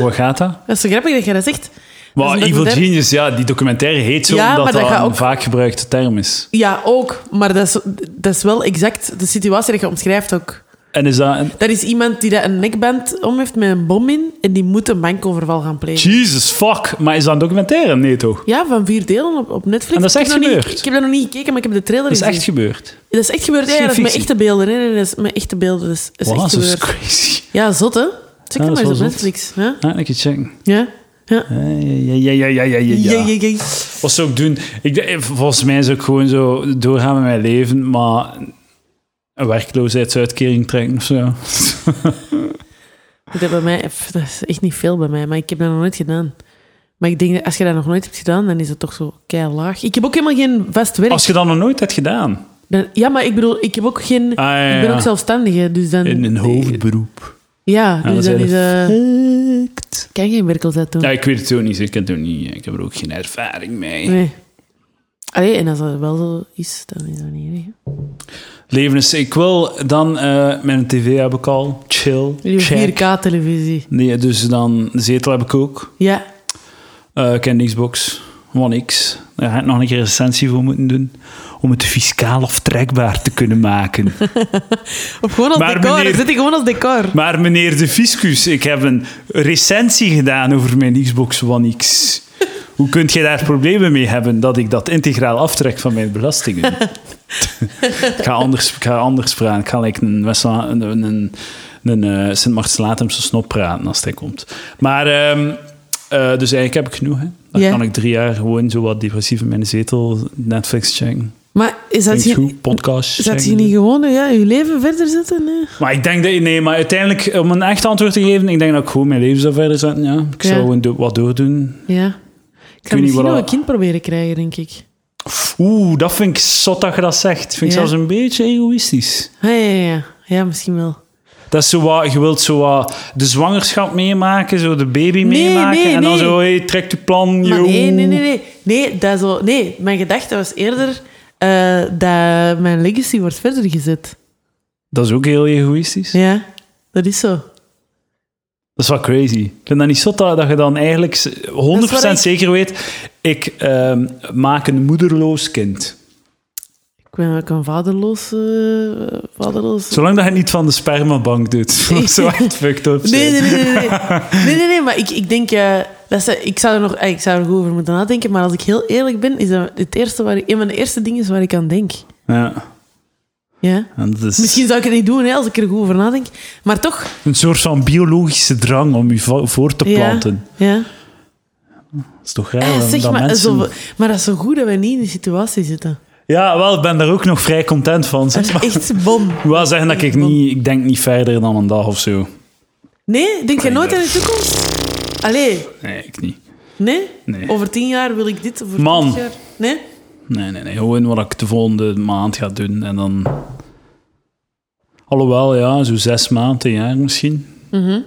Speaker 2: Hoe gaat dat?
Speaker 1: Dat is zo grappig dat je dat zegt. Dat is
Speaker 2: Maar
Speaker 1: een
Speaker 2: Evil
Speaker 1: documentaire-
Speaker 2: Genius, ja, die documentaire heet zo
Speaker 1: Ja,
Speaker 2: omdat
Speaker 1: maar
Speaker 2: dat,
Speaker 1: dat gaat
Speaker 2: een
Speaker 1: ook-
Speaker 2: vaak gebruikte term is.
Speaker 1: Ja, ook. Maar dat is, dat is wel exact de situatie dat je omschrijft ook.
Speaker 2: En is dat... Een...
Speaker 1: Er is iemand die daar een nekband om heeft met een bom in en die moet een bankoverval gaan plegen.
Speaker 2: Jesus fuck, maar is dat een documentaire? Nee toch?
Speaker 1: Ja, van vier delen op, op Netflix.
Speaker 2: En dat is
Speaker 1: Ik heb
Speaker 2: echt
Speaker 1: nog niet-
Speaker 2: gebeurd?
Speaker 1: ik heb dat nog niet gekeken, maar ik heb de trailer
Speaker 2: Dat is
Speaker 1: gezien.
Speaker 2: echt gebeurd.
Speaker 1: Dat is echt gebeurd.
Speaker 2: Dat
Speaker 1: Ja,
Speaker 2: is
Speaker 1: ja,
Speaker 2: geen
Speaker 1: dat is met
Speaker 2: fictie.
Speaker 1: echte beelden. Nee, nee, dat is met echte beelden. dus Dat is, dat is
Speaker 2: Wow,
Speaker 1: echt
Speaker 2: dat is
Speaker 1: gebeurd.
Speaker 2: crazy.
Speaker 1: Ja, zot, hè? Check
Speaker 2: Ja,
Speaker 1: dat
Speaker 2: dat
Speaker 1: maar
Speaker 2: is
Speaker 1: eens op
Speaker 2: wel zot.
Speaker 1: Netflix. Ja?
Speaker 2: Ah, een keer checken.
Speaker 1: Ja? Ja.
Speaker 2: Ja, ja, ja, ja, ja, ja, ja, ja.
Speaker 1: Ja, ja, ja.
Speaker 2: Wat zou ik doen? Ik, denk- volgens mij zou ik gewoon zo doorgaan met mijn leven, maar een werkloosheidsuitkering trekken of
Speaker 1: [laughs]
Speaker 2: zo.
Speaker 1: Dat, bij mij, pff, dat is echt niet veel bij mij, maar ik heb dat nog nooit gedaan. Maar ik denk, dat als je dat nog nooit hebt gedaan, dan is dat toch zo kei laag. Ik heb ook helemaal geen vast werk.
Speaker 2: Als je dat nog nooit hebt gedaan.
Speaker 1: Dan- ja, maar ik bedoel, ik heb ook geen...
Speaker 2: Ah, ja,
Speaker 1: Ik ben
Speaker 2: ja.
Speaker 1: ook zelfstandige, dus dan...
Speaker 2: In een hoofdberoep.
Speaker 1: Ja,
Speaker 2: dan
Speaker 1: dus dan
Speaker 2: zijn
Speaker 1: is... eh
Speaker 2: Fucked.
Speaker 1: kan geen werkels uit doen.
Speaker 2: Ja, ik weet het zo niet. Ik ken het ook niet. Ik heb er ook geen ervaring mee.
Speaker 1: Nee. Allee, en als dat wel zo is, dan is dat niet erg. hè.
Speaker 2: Leven is... Ik wil dan... eh, mijn tv heb ik al. Chill.
Speaker 1: Jullie
Speaker 2: Check.
Speaker 1: 4K-televisie.
Speaker 2: Nee, dus dan... Zetel heb ik ook.
Speaker 1: Ja.
Speaker 2: Eh, ik heb een Xbox One X. Daar ga ik nog een keer een recensie voor moeten doen. Om het fiscaal aftrekbaar te kunnen maken.
Speaker 1: Of gewoon als
Speaker 2: Maar
Speaker 1: decor.
Speaker 2: meneer-
Speaker 1: Dan zit ik gewoon als decor.
Speaker 2: Maar meneer de fiscus, ik heb een recensie gedaan over mijn Xbox One X. Hoe kunt jij daar problemen mee hebben dat ik dat integraal aftrek van mijn belastingen? ik ga anders, ik ga anders praten. Ik ga like een, West- een, een, een eh, Sint-Martens-Latemse snop praten als hij komt. Maar, ehm, eh, dus eigenlijk heb ik genoeg. Hè. Dan
Speaker 1: Ja.
Speaker 2: kan ik drie jaar gewoon zo wat depressief in mijn zetel Netflix checken.
Speaker 1: Maar is dat
Speaker 2: Klinkt
Speaker 1: je...
Speaker 2: goed, podcast
Speaker 1: Is dat je
Speaker 2: checken.
Speaker 1: niet gewoon ja, je leven verder zetten? Nee.
Speaker 2: Maar ik denk dat... Nee, maar uiteindelijk, om een echt antwoord te geven, ik denk dat ik gewoon mijn leven zou verder zetten, ja. Ik
Speaker 1: Ja.
Speaker 2: zou een do- wat doordoen.
Speaker 1: Ja. Ik
Speaker 2: niet
Speaker 1: zou misschien
Speaker 2: wat
Speaker 1: nog
Speaker 2: al-
Speaker 1: een kind proberen krijgen, denk ik.
Speaker 2: Oeh, dat vind ik zot dat je dat zegt. Vind ik
Speaker 1: Ja.
Speaker 2: zelfs een beetje egoïstisch.
Speaker 1: Ah, ja, ja, ja. ja, misschien wel.
Speaker 2: Dat is zo wat, je wilt zo wat de zwangerschap meemaken, zo de baby meemaken.
Speaker 1: nee,
Speaker 2: en dan
Speaker 1: nee.
Speaker 2: zo, hey, trek je plan,
Speaker 1: Maar
Speaker 2: yo.
Speaker 1: nee, nee, nee, nee. Nee, dat zo, nee, mijn gedachte was eerder eh, dat mijn legacy wordt verder gezet.
Speaker 2: Dat is ook heel egoïstisch.
Speaker 1: Ja, dat is zo.
Speaker 2: Dat is wel crazy. Ik vind dat niet zot dat, dat je dan eigenlijk 100%
Speaker 1: Dat is wat ik-
Speaker 2: zeker weet, ik ehm, maak een moederloos kind.
Speaker 1: Ik ben ook een vaderloos... eh, vaderloos...
Speaker 2: Zolang dat je het niet van de spermabank doet. [laughs] Dat is zo echt fucked up.
Speaker 1: Nee,
Speaker 2: zijn.
Speaker 1: nee, nee, nee. Nee,
Speaker 2: [laughs]
Speaker 1: nee, nee, nee, maar ik, ik denk... eh, dat ze, ik, zou er nog, eh, ik zou er goed over moeten nadenken, maar als ik heel eerlijk ben, is dat het eerste waar ik, een van de eerste dingen is waar ik aan denk.
Speaker 2: Ja.
Speaker 1: Ja.
Speaker 2: En dat is
Speaker 1: Misschien zou ik het niet doen hè, als ik er goed over nadenk. Maar toch.
Speaker 2: een soort van biologische drang om je vo- voor te planten.
Speaker 1: Ja. ja.
Speaker 2: Dat is toch raar?
Speaker 1: Eh,
Speaker 2: dat-
Speaker 1: zeg
Speaker 2: dat
Speaker 1: maar,
Speaker 2: mensen...
Speaker 1: zo, maar dat is zo goed dat wij niet in die situatie zitten.
Speaker 2: Ja, wel, ik ben daar ook nog vrij content van.
Speaker 1: Dat
Speaker 2: Zeg
Speaker 1: is
Speaker 2: maar.
Speaker 1: echt bom.
Speaker 2: Ik wil wel zeggen dat ik niet... Ik denk niet verder dan een dag of zo.
Speaker 1: Nee, denk jij
Speaker 2: Nee,
Speaker 1: nooit
Speaker 2: dat-
Speaker 1: aan de toekomst? Allee,
Speaker 2: Nee, ik niet.
Speaker 1: nee?
Speaker 2: Nee.
Speaker 1: Over tien jaar wil ik dit, over
Speaker 2: Man.
Speaker 1: twintig jaar... Nee?
Speaker 2: Nee, nee, nee. Gewoon wat ik de volgende maand ga doen en dan... Alhoewel, ja, zo zes maanden, een jaar misschien.
Speaker 1: Mhm.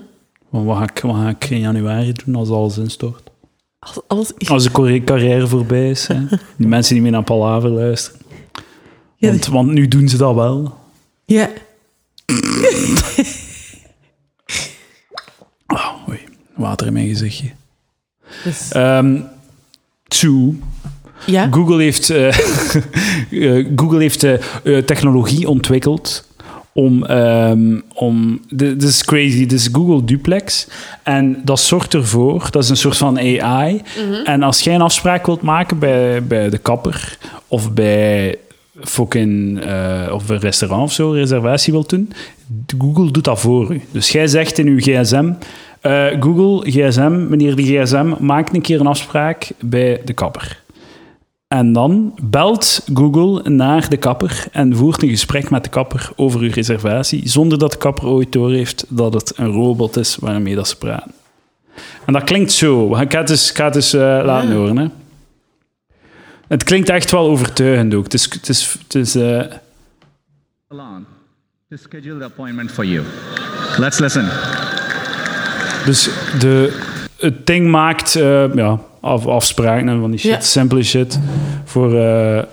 Speaker 2: Want Wat, ga ik, wat ga ik in januari doen als alles instort?
Speaker 1: Als, als,
Speaker 2: Als de carri- carrière voorbij is. Hè. Die mensen die mee naar Palaver luisteren.
Speaker 1: Ja,
Speaker 2: Want, want nu doen ze dat wel.
Speaker 1: ja.
Speaker 2: Oh, oei. Water in mijn gezichtje.
Speaker 1: Dus-
Speaker 2: Ehm two.
Speaker 1: ja?
Speaker 2: Google heeft, eh, [laughs] eh, Google heeft eh, eh, technologie ontwikkeld om... ehm, om dit dit is crazy. Dit is Google Duplex. En dat zorgt ervoor... Dat is een soort van AI. En als jij een afspraak wilt maken bij, bij de kapper of bij fucking eh, of een restaurant of zo, reservatie wilt doen, Google doet dat voor u. Dus jij zegt in uw gsm, eh, Google, gsm, meneer de gsm, maak een keer een afspraak bij de kapper. En dan belt Google naar de kapper en voert een gesprek met de kapper over uw reservatie, zonder dat de kapper ooit doorheeft dat het een robot is waarmee dat ze praten. En dat klinkt zo. Ik ga het eens, ik ga het eens eh, laten
Speaker 1: Ja.
Speaker 2: horen. Hè. Het klinkt echt wel overtuigend ook. Het is... Het is, het is eh,
Speaker 3: salon to schedule the appointment for you. Let's listen.
Speaker 2: dus de, het ding maakt eh, ja, af, afspraken en van die shit.
Speaker 1: Ja.
Speaker 2: Simpele shit. Voor, eh,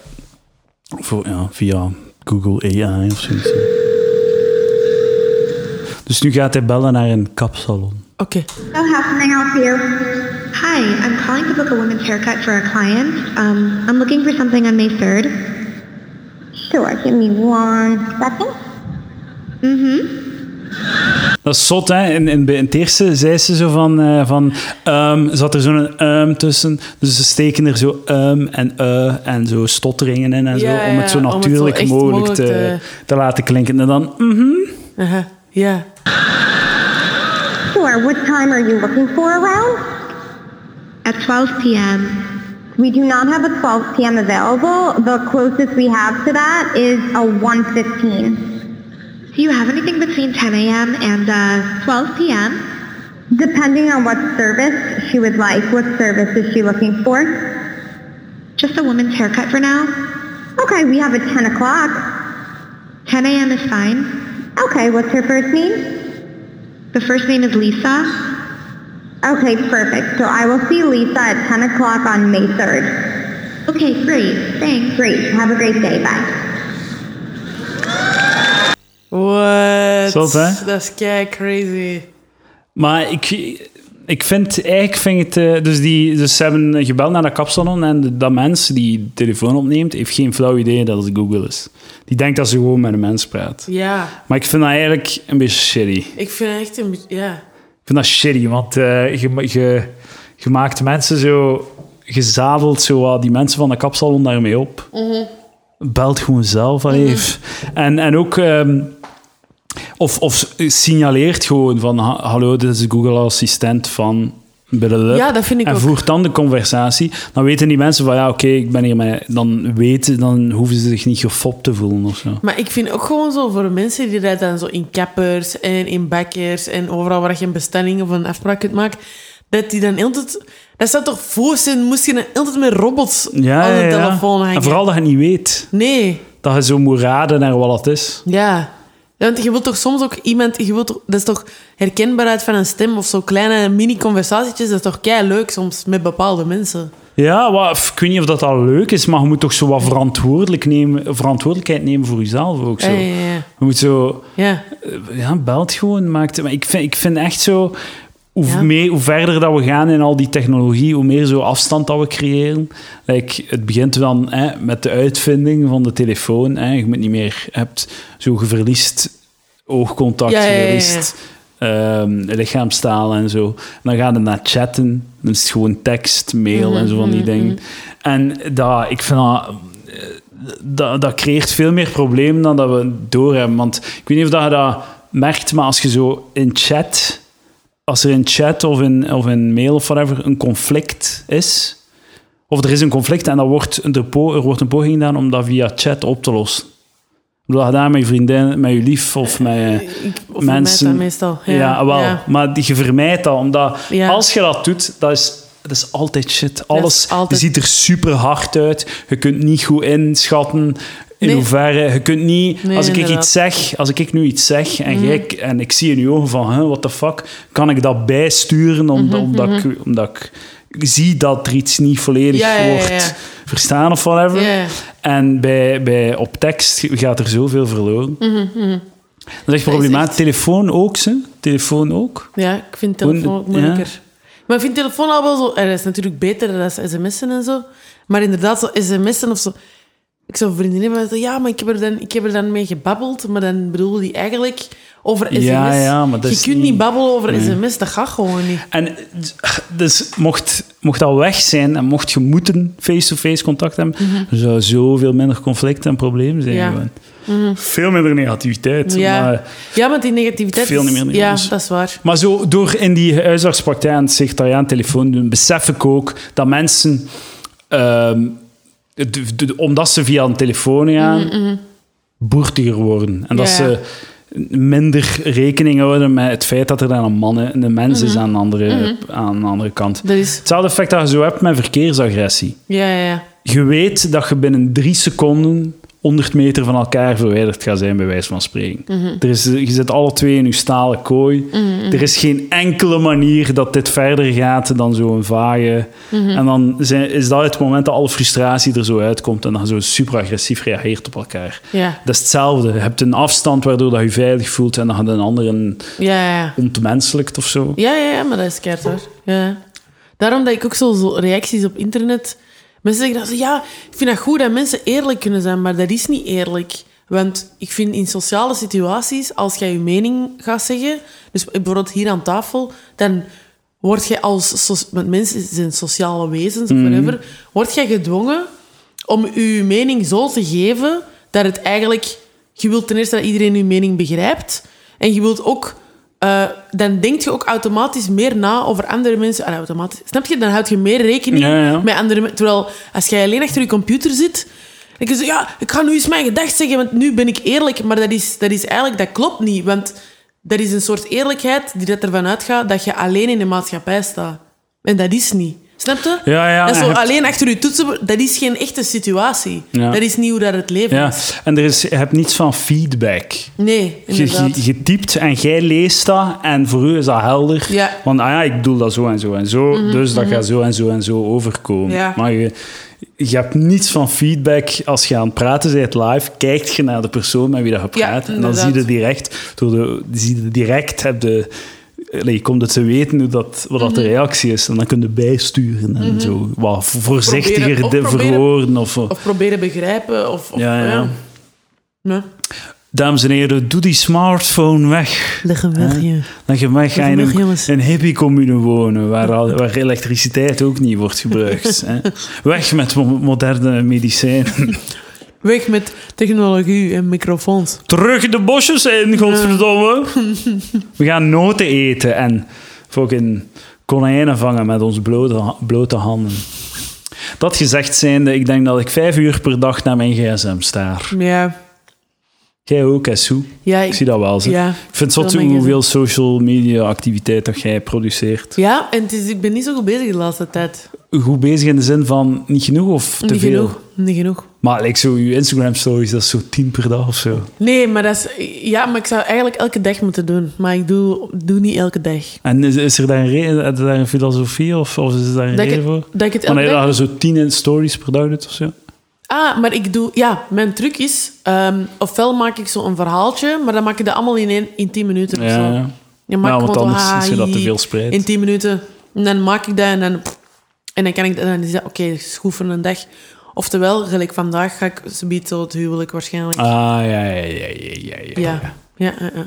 Speaker 2: voor ja, via Google AI of zoiets. Dus nu gaat hij bellen naar een kapsalon.
Speaker 1: Oké.
Speaker 4: So how can I help you? Hi, I'm calling to book a women's haircut for a client. Um, I'm looking for something on May 3rd. Sure, give me one second.
Speaker 2: Dat is zot, hè? In, in, in het eerste zei ze zo van... eh, van ehm, zat er zo'n ehm tussen. Dus ze steken er zo ehm en eh en zo stotteringen in en
Speaker 1: Ja,
Speaker 2: zo. Om het zo
Speaker 1: ja, om het zo
Speaker 2: natuurlijk
Speaker 1: echt
Speaker 2: mogelijk,
Speaker 1: mogelijk
Speaker 2: te, te laten klinken. En dan... mhm.
Speaker 1: Aha. Ja.
Speaker 4: Sure, what time are you looking for around? At 12 p.m. We do not have a 12 p.m. available. The closest we have to that is a 1.15. Do you have anything between 10 a.m. and uh, 12 p.m.? Depending on what service she would like. What service is she looking for? Just a woman's haircut for now. Okay, we have a 10 o'clock. 10 a.m. is fine. Okay, what's her first name? The first name is Lisa. Okay, perfect. So I will see Lisa at 10 o'clock on May 3rd. Okay, great. Thanks. Great. Have a great day. Bye.
Speaker 1: What?
Speaker 2: Zot, hè?
Speaker 1: Dat is kei crazy.
Speaker 2: Maar ik, ik vind, eigenlijk vind ik het... eh, Dus, die, dus ze hebben gebeld naar dat kapsalon en dat mens die de telefoon opneemt, heeft geen flauw idee dat het Google is. Die denkt dat ze gewoon met een mens praat.
Speaker 1: Ja,
Speaker 2: Maar ik vind dat eigenlijk een beetje shitty.
Speaker 1: ik vind het echt een beetje... Ja.
Speaker 5: Ik vind dat shitty, want eh, je, je, je maakt mensen zo... Je zadelt zo wat die mensen van de kapsalon daarmee op.
Speaker 1: Mhm.
Speaker 5: Belt gewoon zelf al even. En, en ook... ehm, of, of signaleert gewoon van... "Ha- Hallo, dit is de Google-assistent van... blablabla."
Speaker 1: Ja, dat vind ik
Speaker 2: en
Speaker 1: ook.
Speaker 2: voert dan de conversatie. Dan weten die mensen van... Ja, oké, ik ben hier met... Dan weten... Dan hoeven ze zich niet gefopt te voelen of zo.
Speaker 1: Maar ik vind ook gewoon zo voor mensen die dat dan zo in kappers en in bakkers en overal waar je een bestelling of een afspraak kunt maken, dat die dan altijd... Dat staat toch voor zijn, moest je dan altijd met robots
Speaker 2: Ja,
Speaker 1: aan de
Speaker 2: ja, ja.
Speaker 1: telefoon hangen?
Speaker 2: En vooral dat je niet weet.
Speaker 1: Nee,
Speaker 2: Dat je zo moet raden naar wat het is.
Speaker 1: ja. Ja, Want je wilt toch soms ook iemand... Je wilt, toch- dat is toch herkenbaarheid van een stem of zo kleine mini-conversatietjes. Dat is toch kei leuk soms met bepaalde mensen.
Speaker 2: Ja, wat, pff, ik weet niet of dat al leuk is, maar je moet toch zo wat verantwoordelijk nemen, verantwoordelijkheid nemen voor jezelf ook zo.
Speaker 1: Ja, ja, ja.
Speaker 2: Je moet zo...
Speaker 1: Ja,
Speaker 2: eh, Ja, belt gewoon. Maakt, maar ik vind, ik vind echt zo... Hoe,
Speaker 1: Ja.
Speaker 2: mee, hoe verder dat we gaan in al die technologie, hoe meer zo afstand dat we creëren. Like, het begint dan hè, met de uitvinding van de telefoon. Hè, je moet niet meer... je Hebt, zo, je verliest oogcontact,
Speaker 1: Ja, ja, ja,
Speaker 2: je
Speaker 1: ja.
Speaker 2: verliest ehm, lichaamstaal en zo. Dan gaan we naar chatten. Dan is het gewoon tekst, mail en zo van
Speaker 1: Mhm,
Speaker 2: die dingen. En dat, ik vind dat dat, dat creëert veel meer problemen dan dat we doorhebben. Want ik weet niet of dat je dat merkt, maar als je zo in chat, als er in chat of in, of in mail of whatever een conflict is, of er is een conflict en dan wordt een, er, po- er wordt een poging gedaan om dat via chat op te lossen. Omdat je daar met je vriendin, met je lief of met
Speaker 1: Eh, ik of
Speaker 2: mensen.
Speaker 1: mensen, meestal. Ja,
Speaker 2: wel.
Speaker 1: ja.
Speaker 2: Maar die- je vermijdt dat, omdat
Speaker 1: Ja.
Speaker 2: als je dat doet, dat is, dat is altijd shit. Alles
Speaker 1: altijd-
Speaker 2: ziet er super hard uit. Je kunt niet goed inschatten in
Speaker 1: Nee.
Speaker 2: hoeverre. Je kunt niet,
Speaker 1: Nee,
Speaker 2: als ik
Speaker 1: inderdaad. Mhm.
Speaker 2: iets zeg, als ik nu iets zeg en, jij- en ik zie in je ogen van, huh, what the fuck, kan ik dat bijsturen om-
Speaker 1: Mhm,
Speaker 2: omdat, ik, omdat ik zie dat er iets niet volledig
Speaker 1: Ja, ja, ja,
Speaker 2: wordt
Speaker 1: ja.
Speaker 2: verstaan of whatever.
Speaker 1: Ja, ja.
Speaker 2: En bij, bij, op tekst gaat er zoveel verloren.
Speaker 1: Mhm,
Speaker 2: Dat is echt problematisch. Telefoon ook, ze. Telefoon ook.
Speaker 1: Ja, ik vind telefoon ook
Speaker 2: Gewoon, ja.
Speaker 1: moeilijker. Maar ik vind telefoon al wel zo... Er is natuurlijk beter dan sms'en en zo. Maar inderdaad, zo sms'en of zo... Ik zou vriendin hebben die zeggen, ja, maar ik heb, er dan, ik heb er dan mee gebabbeld. Maar dan bedoelde die eigenlijk over sms.
Speaker 2: Ja, ja, maar dat
Speaker 1: je
Speaker 2: is
Speaker 1: kunt
Speaker 2: niet-
Speaker 1: niet babbelen over sms, dat gaat gewoon niet.
Speaker 2: En dus mocht, mocht dat weg zijn en mocht je moeten face-to-face contact hebben, er zou zoveel minder conflicten en problemen zijn.
Speaker 1: Mhm. Ja. Mhm.
Speaker 2: gewoon. Veel minder negativiteit.
Speaker 1: Ja,
Speaker 2: Maar,
Speaker 1: ja maar die negativiteit...
Speaker 2: Veel
Speaker 1: is-
Speaker 2: niet meer, niet
Speaker 1: Ja,
Speaker 2: anders.
Speaker 1: dat is waar.
Speaker 2: maar zo door in die huisartspraktijk en het secretariaat telefoon doen, besef ik ook dat mensen, ehm, de- de- omdat ze via een telefoon gaan, boertiger worden. En dat
Speaker 1: Mhm, Ja.
Speaker 2: ze minder rekening houden met het feit dat er dan een, man, een mens
Speaker 1: Mhm.
Speaker 2: is aan de andere, aan de andere kant.
Speaker 1: Dat is...
Speaker 2: Hetzelfde effect dat je zo hebt met verkeersagressie.
Speaker 1: Ja, ja, ja.
Speaker 2: Je weet dat je binnen drie seconden 100 meter van elkaar verwijderd gaat zijn, bij wijze van spreken.
Speaker 1: Mhm.
Speaker 2: er is, je zit alle twee in je stalen kooi. Er is geen enkele manier dat dit verder gaat dan zo'n vage...
Speaker 1: Mhm.
Speaker 2: En dan zijn, is dat het moment dat alle frustratie er zo uitkomt en dat je zo super agressief reageert op elkaar.
Speaker 1: Ja,
Speaker 2: Dat is hetzelfde. Je hebt een afstand waardoor dat je veilig voelt en dan gaat een ander
Speaker 1: ja, ja.
Speaker 2: ontmenselijkt of zo.
Speaker 1: Ja, ja, ja, maar dat is keihard hoor. Ja. Daarom dat ik ook zo, zo reacties op internet... Mensen zeggen dan zo, ja, ik vind dat goed dat mensen eerlijk kunnen zijn, maar dat is niet eerlijk. Want ik vind in sociale situaties, als jij je mening gaat zeggen, dus bijvoorbeeld hier aan tafel, dan word jij als... so- Want mensen zijn sociale wezens, of whatever, word jij gedwongen om je mening zo te geven dat het eigenlijk... Je wilt ten eerste dat iedereen je mening begrijpt. En je wilt ook... eh, dan denk je ook automatisch meer na over andere mensen. Ah, automatisch. Snap je? Dan houd je meer rekening
Speaker 2: Ja, ja.
Speaker 1: met andere mensen. Terwijl als jij alleen achter je computer zit... Dan denk je zo, ja, ik ga nu eens mijn gedacht zeggen, want nu ben ik eerlijk. Maar dat is, dat is eigenlijk... Dat klopt niet, want... Dat is een soort eerlijkheid die dat ervan uitgaat dat je alleen in de maatschappij staat. En dat is niet. Snap je?
Speaker 2: Ja, ja,
Speaker 1: dat is
Speaker 2: en
Speaker 1: zo
Speaker 2: je hebt-
Speaker 1: alleen achter je toetsen, dat is geen echte situatie.
Speaker 2: Ja.
Speaker 1: Dat is niet hoe dat het leven
Speaker 2: Ja.
Speaker 1: is.
Speaker 2: En er is, je hebt niets van feedback.
Speaker 1: Nee,
Speaker 2: Je-
Speaker 1: inderdaad.
Speaker 2: Je, je typt en jij leest dat en voor u is dat helder.
Speaker 1: Ja. Mhm,
Speaker 2: Want ah ja, ik doe dat zo en zo en zo, dus dat gaat zo en zo en zo overkomen.
Speaker 1: Ja.
Speaker 2: Maar je, je hebt niets van feedback als je aan het praten bent live. Kijkt je naar de persoon met wie dat je
Speaker 1: Ja,
Speaker 2: praat. en dan
Speaker 1: inderdaad.
Speaker 2: zie je direct, door de, zie je direct heb de, allee, je komt het te weten hoe dat, wat dat
Speaker 1: Mhm.
Speaker 2: de reactie is. En dan kun je bijsturen en zo. Wat voorzichtiger
Speaker 1: of
Speaker 2: de-
Speaker 1: proberen-
Speaker 2: verwoorden. Of,
Speaker 1: Of proberen begrijpen. Of, of,
Speaker 2: Ja, ja.
Speaker 1: Ja.
Speaker 2: Dames en heren, doe die smartphone weg.
Speaker 1: Leg hem weg, ja.
Speaker 2: Dan je mag ga je in
Speaker 1: Weg,
Speaker 2: een,
Speaker 1: jongens.
Speaker 2: een hippie-commune wonen, waar, al- waar elektriciteit ook niet wordt
Speaker 1: [laughs]
Speaker 2: gebruikt. Hè. Weg met mo- moderne medicijnen.
Speaker 1: Weg met technologie en microfoons.
Speaker 2: Terug de bosjes in, godverdomme. We gaan noten eten en fucking konijnen vangen met onze blote, ha- blote handen. Dat gezegd zijnde, ik denk dat ik vijf uur per dag naar mijn gsm staar.
Speaker 1: Ja.
Speaker 2: Jij ook, hè, Sue?
Speaker 1: ja
Speaker 2: Ik zie dat wel, zeg.
Speaker 1: Ja,
Speaker 2: ik vind
Speaker 1: veel
Speaker 2: het zot
Speaker 1: mijn
Speaker 2: hoeveel social media activiteit dat jij produceert.
Speaker 1: Ja, en het is, ik ben niet zo goed bezig de laatste tijd.
Speaker 2: goed bezig in de zin van niet genoeg of te
Speaker 1: niet
Speaker 2: veel?
Speaker 1: genoeg. Niet genoeg.
Speaker 2: Maar like, zo, je Instagram stories, dat is zo tien per dag of zo.
Speaker 1: Nee, maar dat is... Ja, maar ik zou eigenlijk elke dag moeten doen. Maar ik doe, doe niet elke dag.
Speaker 2: En is, is er daar een, reden, heb je daar een filosofie of, of is er daar een
Speaker 1: Dat ik,
Speaker 2: reden voor?
Speaker 1: dat ik het elke
Speaker 2: Wanneer
Speaker 1: dag...
Speaker 2: dat je zo tien in stories per dag doet of zo?
Speaker 1: Ah, maar ik doe... Ja, mijn truc is... ehm, ofwel maak ik zo'n verhaaltje, maar dan maak ik dat allemaal in, één, in tien minuten of
Speaker 2: Ja,
Speaker 1: zo.
Speaker 2: ja.
Speaker 1: Je maakt
Speaker 2: Ja, want
Speaker 1: gewoon
Speaker 2: anders
Speaker 1: zo,
Speaker 2: is je dat
Speaker 1: hi,
Speaker 2: te veel spreidt.
Speaker 1: In tien minuten. En dan maak ik dat en dan... En dan kan ik... En dan is dat, oké, schoeven een dag. Oftewel, gelijk vandaag ga ik ze biedt zo het huwelijk waarschijnlijk.
Speaker 2: Ah, ja, ja, ja, ja, ja. ja.
Speaker 1: Ja, ja, ja. ja.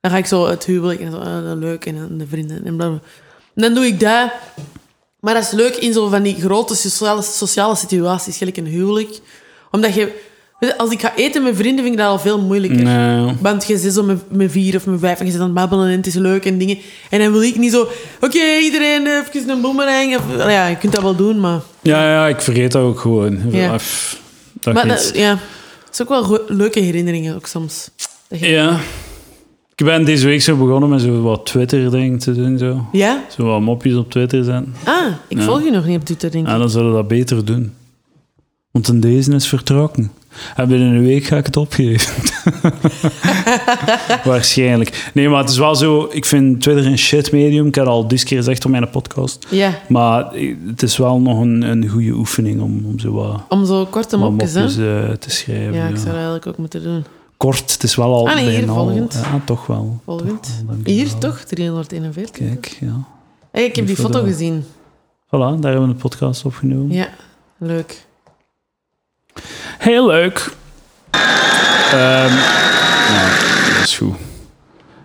Speaker 1: Dan ga ik zo het huwelijk en zo, ah, dat is leuk en, dan de vrienden en blablabla. En dan doe ik dat. Maar dat is leuk in zo van die grote sociale, sociale situaties, gelijk een huwelijk. Omdat je... weet je, Als ik ga eten met vrienden, vind ik dat al veel moeilijker.
Speaker 2: Nou,
Speaker 1: Want je zit zo met, met vier of met vijf en je zit aan het babbelen en het is leuk en dingen. En dan wil ik niet zo... Oké, iedereen eh, even een boomerang. Of, ja, je kunt dat wel doen, maar...
Speaker 2: ja, ja, ik vergeet dat ook gewoon.
Speaker 1: Ja.
Speaker 2: Af, dat
Speaker 1: Maar
Speaker 2: geeft-
Speaker 1: dat, ja, het is ook wel goe- leuke herinneringen ook soms. Dat je-
Speaker 2: ja. Ik ben deze week zo begonnen met zo wat Twitter-ding te doen. Zo.
Speaker 1: Ja?
Speaker 2: zo wat mopjes op Twitter zetten.
Speaker 1: Ah, ik volg je nog niet op Twitter, denk ik.
Speaker 2: Ja, dan zullen we dat beter doen. Want in deze is vertrokken. En binnen een week ga ik het opgeven. [laughs] Waarschijnlijk. Nee, maar het is wel zo... Ik vind Twitter een shit medium. Ik heb het al dus keer gezegd op mijn podcast.
Speaker 1: Ja,
Speaker 2: Maar het is wel nog een, een goede oefening om, om zo wat,
Speaker 1: om zo korte
Speaker 2: wat
Speaker 1: mopjes, hè?
Speaker 2: mopjes eh, te schrijven.
Speaker 1: Ja, ik
Speaker 2: ja.
Speaker 1: zou dat eigenlijk ook moeten doen.
Speaker 2: Kort, het is wel al
Speaker 1: Ah, nee, hier,
Speaker 2: bijna al-
Speaker 1: volgend.
Speaker 2: Ja, toch wel.
Speaker 1: Volgend.
Speaker 2: Toch wel, Oh, dank je
Speaker 1: Hier
Speaker 2: wel.
Speaker 1: toch? 341.
Speaker 2: Kijk, ja.
Speaker 1: Hey, ik heb die
Speaker 2: Voor
Speaker 1: foto
Speaker 2: de-
Speaker 1: gezien.
Speaker 2: Voilà, daar hebben we de podcast opgenomen.
Speaker 1: Ja, leuk.
Speaker 2: Heel leuk. Ehm, nou, dat is goed.